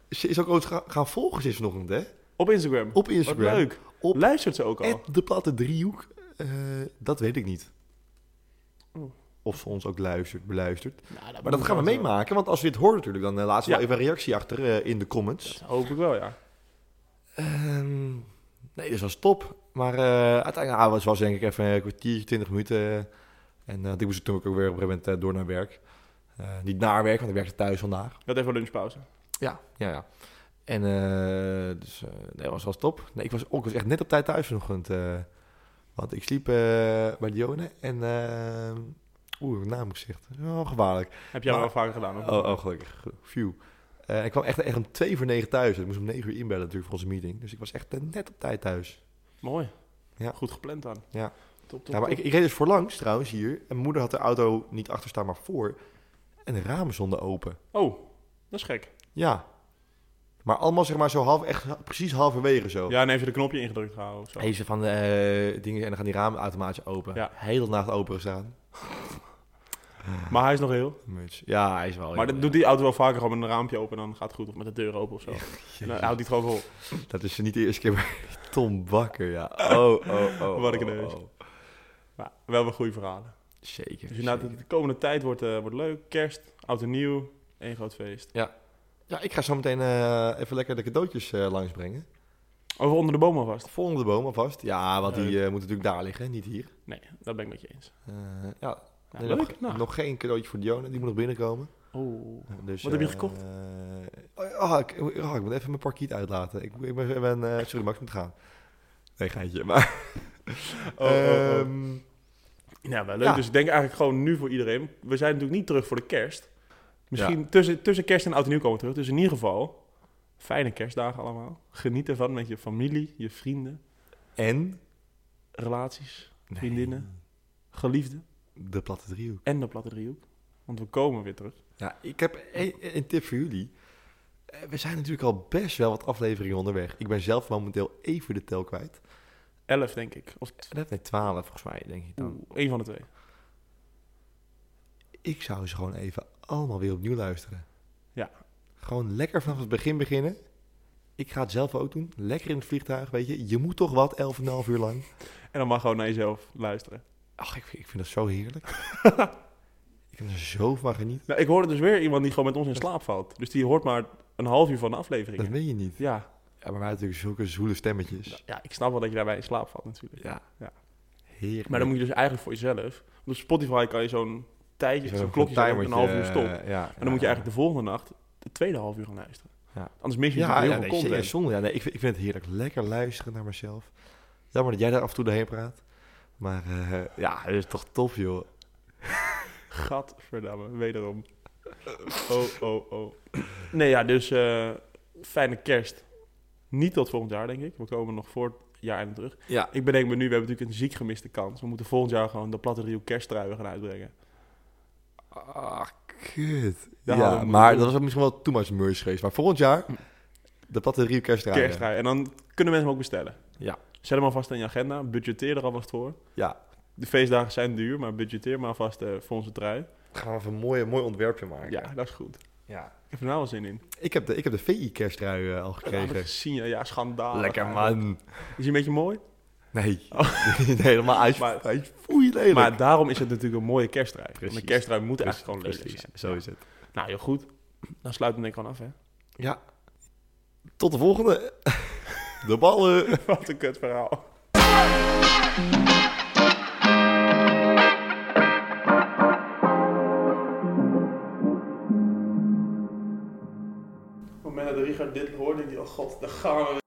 Speaker 2: ze is ook ooit ga- gaan volgen sinds vanochtend, hè?
Speaker 3: Op Instagram.
Speaker 2: Op Instagram.
Speaker 3: Wat leuk.
Speaker 2: Op-
Speaker 3: Luistert ze ook al?
Speaker 2: En de platte driehoek, eh, dat weet ik niet.
Speaker 3: Oh.
Speaker 2: Of ze ons ook luistert, beluistert.
Speaker 3: Nou,
Speaker 2: Maar dat gaan we meemaken, want als we dit horen natuurlijk, dan eh, laat ze
Speaker 3: Ja.
Speaker 2: wel even een reactie achter eh, in de comments.
Speaker 3: Hoop ik wel, ja.
Speaker 2: Ehm, nee, dus was top. Maar eh, uiteindelijk ah, was, was denk ik even een kwartiertje, twintig minuten. eh, en eh, ik moest toen ook weer op een gegeven moment eh, door naar werk. Eh, niet naar werk, want ik werkte thuis vandaag.
Speaker 3: Je had even een lunchpauze.
Speaker 2: Ja, ja, ja. En eh, dus, eh, nee, was, was top. Nee, ik was, ook was echt net op tijd thuis vanochtend. eh, want ik sliep eh, bij Dione en... ehm Oeh, mijn naam gezegd. Oh, gevaarlijk.
Speaker 3: Heb jij
Speaker 2: Maar-
Speaker 3: wel vaker gedaan? Of?
Speaker 2: Oh, oh gelukkig. Phew. Eh, ik kwam echt, echt om twee voor negen thuis. Ik moest om negen uur inbellen natuurlijk voor onze meeting. Dus ik was echt eh, net op tijd thuis.
Speaker 3: Mooi.
Speaker 2: Ja.
Speaker 3: Goed gepland dan.
Speaker 2: Ja.
Speaker 3: Top, top,
Speaker 2: Ja, maar
Speaker 3: top.
Speaker 2: ik, ik reed dus voorlangs trouwens hier. En mijn moeder had de auto niet achter staan, maar voor. En de ramen stonden open.
Speaker 3: Oh, dat is gek.
Speaker 2: Ja. Maar allemaal zeg maar zo half, echt ha- precies halverwege zo.
Speaker 3: Ja, en even de knopje ingedrukt houden of zo.
Speaker 2: Even van eh, dingen en dan gaan die ramen automatisch open.
Speaker 3: Ja.
Speaker 2: Heel de nacht open gestaan.
Speaker 3: Maar hij is nog heel.
Speaker 2: Muts. Oh, Ja, hij is wel.
Speaker 3: maar
Speaker 2: heel-
Speaker 3: dat doet die auto wel vaker gewoon met een raampje open en dan gaat het goed. Of met de deur open of zo. En dan houdt die het gewoon vol.
Speaker 2: Dat is niet de eerste keer bij Tom Bakker, ja. Oh, oh, oh.
Speaker 3: Wat een
Speaker 2: oh,
Speaker 3: kneus.
Speaker 2: oh.
Speaker 3: Maar wel weer goede verhalen.
Speaker 2: Zeker.
Speaker 3: Dus inderdaad,
Speaker 2: zeker.
Speaker 3: de komende tijd wordt, eh, wordt leuk. Kerst, oud en nieuw, één groot feest.
Speaker 2: Ja, ik ga zo meteen eh, even lekker de cadeautjes eh, langsbrengen.
Speaker 3: Over onder de boom alvast.
Speaker 2: Volgende boom alvast. Ja, want die
Speaker 3: Leuk.
Speaker 2: eh, moet natuurlijk daar liggen, niet hier.
Speaker 3: Nee, dat ben ik met je eens.
Speaker 2: Eh, ja,
Speaker 3: Ja,
Speaker 2: Nee,
Speaker 3: leuk.
Speaker 2: Nog,
Speaker 3: Nou.
Speaker 2: nog geen cadeautje voor Dione, die moet nog binnenkomen.
Speaker 3: Oh.
Speaker 2: Dus,
Speaker 3: Wat heb je
Speaker 2: eh,
Speaker 3: gekocht?
Speaker 2: eh, oh, ik, oh, ik moet even mijn parkiet uitlaten. Ik, ik ben, ik ben, eh, sorry, Max, ik moet gaan. Nee, geintje, maar...
Speaker 3: Oh, oh, oh.
Speaker 2: Ehm,
Speaker 3: Ja, wel leuk.
Speaker 2: ja.
Speaker 3: Dus ik denk eigenlijk gewoon nu voor iedereen. We zijn natuurlijk niet terug voor de kerst. Misschien
Speaker 2: Ja.
Speaker 3: tussen, tussen kerst en oud en nieuw komen we terug. Dus in ieder geval, fijne kerstdagen allemaal. Geniet ervan met je familie, je vrienden,
Speaker 2: en...
Speaker 3: relaties,
Speaker 2: Nee,
Speaker 3: Vriendinnen. geliefden
Speaker 2: de platte driehoek.
Speaker 3: en de platte driehoek. Want we komen weer terug.
Speaker 2: Ja, ik heb een, een tip voor jullie. Eh, We zijn natuurlijk al best wel wat afleveringen onderweg. Ik ben zelf momenteel even de tel kwijt.
Speaker 3: 11, denk ik. Of
Speaker 2: Nee, 12 volgens mij, denk ik dan.
Speaker 3: een van de twee.
Speaker 2: Ik zou ze gewoon even allemaal weer opnieuw luisteren.
Speaker 3: Ja.
Speaker 2: Gewoon lekker vanaf het begin beginnen. Ik ga het zelf ook doen. Lekker in het vliegtuig, weet je. Je moet toch wat, 11,5 uur lang.
Speaker 3: En dan mag gewoon naar jezelf luisteren.
Speaker 2: Ach, ik, ik vind dat zo heerlijk. ik heb er zo van genieten.
Speaker 3: Nou, ik hoorde dus weer iemand die gewoon met ons in slaap valt. Dus die hoort maar een half uur van de
Speaker 2: Dat
Speaker 3: aflevering.
Speaker 2: weet je niet.
Speaker 3: Ja.
Speaker 2: Ja, maar wij hebben natuurlijk zulke zoele stemmetjes.
Speaker 3: ja, ik snap wel dat je daarbij in slaap valt natuurlijk.
Speaker 2: Ja.
Speaker 3: Ja.
Speaker 2: Heerlijk.
Speaker 3: Maar dan moet je dus eigenlijk voor jezelf. Want op Spotify kan je zo'n tijdje, zo'n
Speaker 2: Zo'n
Speaker 3: klokje, zetten, een
Speaker 2: timertje,
Speaker 3: half uur stop. En
Speaker 2: eh, Ja,
Speaker 3: dan moet je eigenlijk de volgende nacht de tweede half uur gaan luisteren.
Speaker 2: Ja.
Speaker 3: Anders mis je
Speaker 2: Ja,
Speaker 3: natuurlijk
Speaker 2: ja,
Speaker 3: heel
Speaker 2: nee,
Speaker 3: veel
Speaker 2: zeker,
Speaker 3: content.
Speaker 2: zonde. Ja, nee, ik, vind- ik vind het heerlijk. Lekker luisteren naar mezelf. Jammer dat jij daar af en toe doorheen praat. Maar eh, ja, dat is toch tof, joh.
Speaker 3: Gadverdamme, wederom. Oh, oh, oh. Nee, ja, dus eh, fijne kerst. Niet tot volgend jaar, denk ik. We komen nog voor het jaar einde terug.
Speaker 2: Ja.
Speaker 3: Ik bedenk me nu, we hebben natuurlijk een ziek gemiste kans. We moeten volgend jaar gewoon de platte Rio kersttruien gaan uitbrengen.
Speaker 2: Ah, kut. Ja,
Speaker 3: Ja, dat moeten we
Speaker 2: maar
Speaker 3: doen.
Speaker 2: dat was misschien wel too much merch geweest. Maar volgend jaar, de platte Rio kerstdraaien.
Speaker 3: Kersttruien. En dan kunnen mensen hem ook bestellen.
Speaker 2: Ja.
Speaker 3: Zet hem alvast in je agenda. Budgeteer er alvast voor.
Speaker 2: Ja,
Speaker 3: De feestdagen zijn duur, maar budgeteer maar alvast eh, voor onze trui.
Speaker 2: gaan we even een mooi, mooi ontwerpje maken.
Speaker 3: Ja, dat is goed.
Speaker 2: ja.
Speaker 3: Ik heb er nou wel zin in.
Speaker 2: Ik, heb de, ik heb de VI kerstdraai eh, al
Speaker 3: Gekregen.
Speaker 2: gekregen.
Speaker 3: gezien, ja, ja, schandaal.
Speaker 2: man.
Speaker 3: Is hij een beetje mooi?
Speaker 2: Nee, nee helemaal uit,
Speaker 3: Oh. Maar-
Speaker 2: uit, foei lelijk.
Speaker 3: Maar daarom is het natuurlijk een mooie kerstdraai. Want
Speaker 2: Precies.
Speaker 3: een kerstdraai moet
Speaker 2: Precies,
Speaker 3: echt gewoon leuk
Speaker 2: precies.
Speaker 3: zijn.
Speaker 2: Zo is het.
Speaker 3: Nou, heel goed. Dan sluiten we denk ik gewoon af, hè.
Speaker 2: Ja. Tot de volgende. De ballen.
Speaker 3: Wat een kut verhaal. Op het moment dat Richard dit hoorde, denk ik, oh god, daar gaan we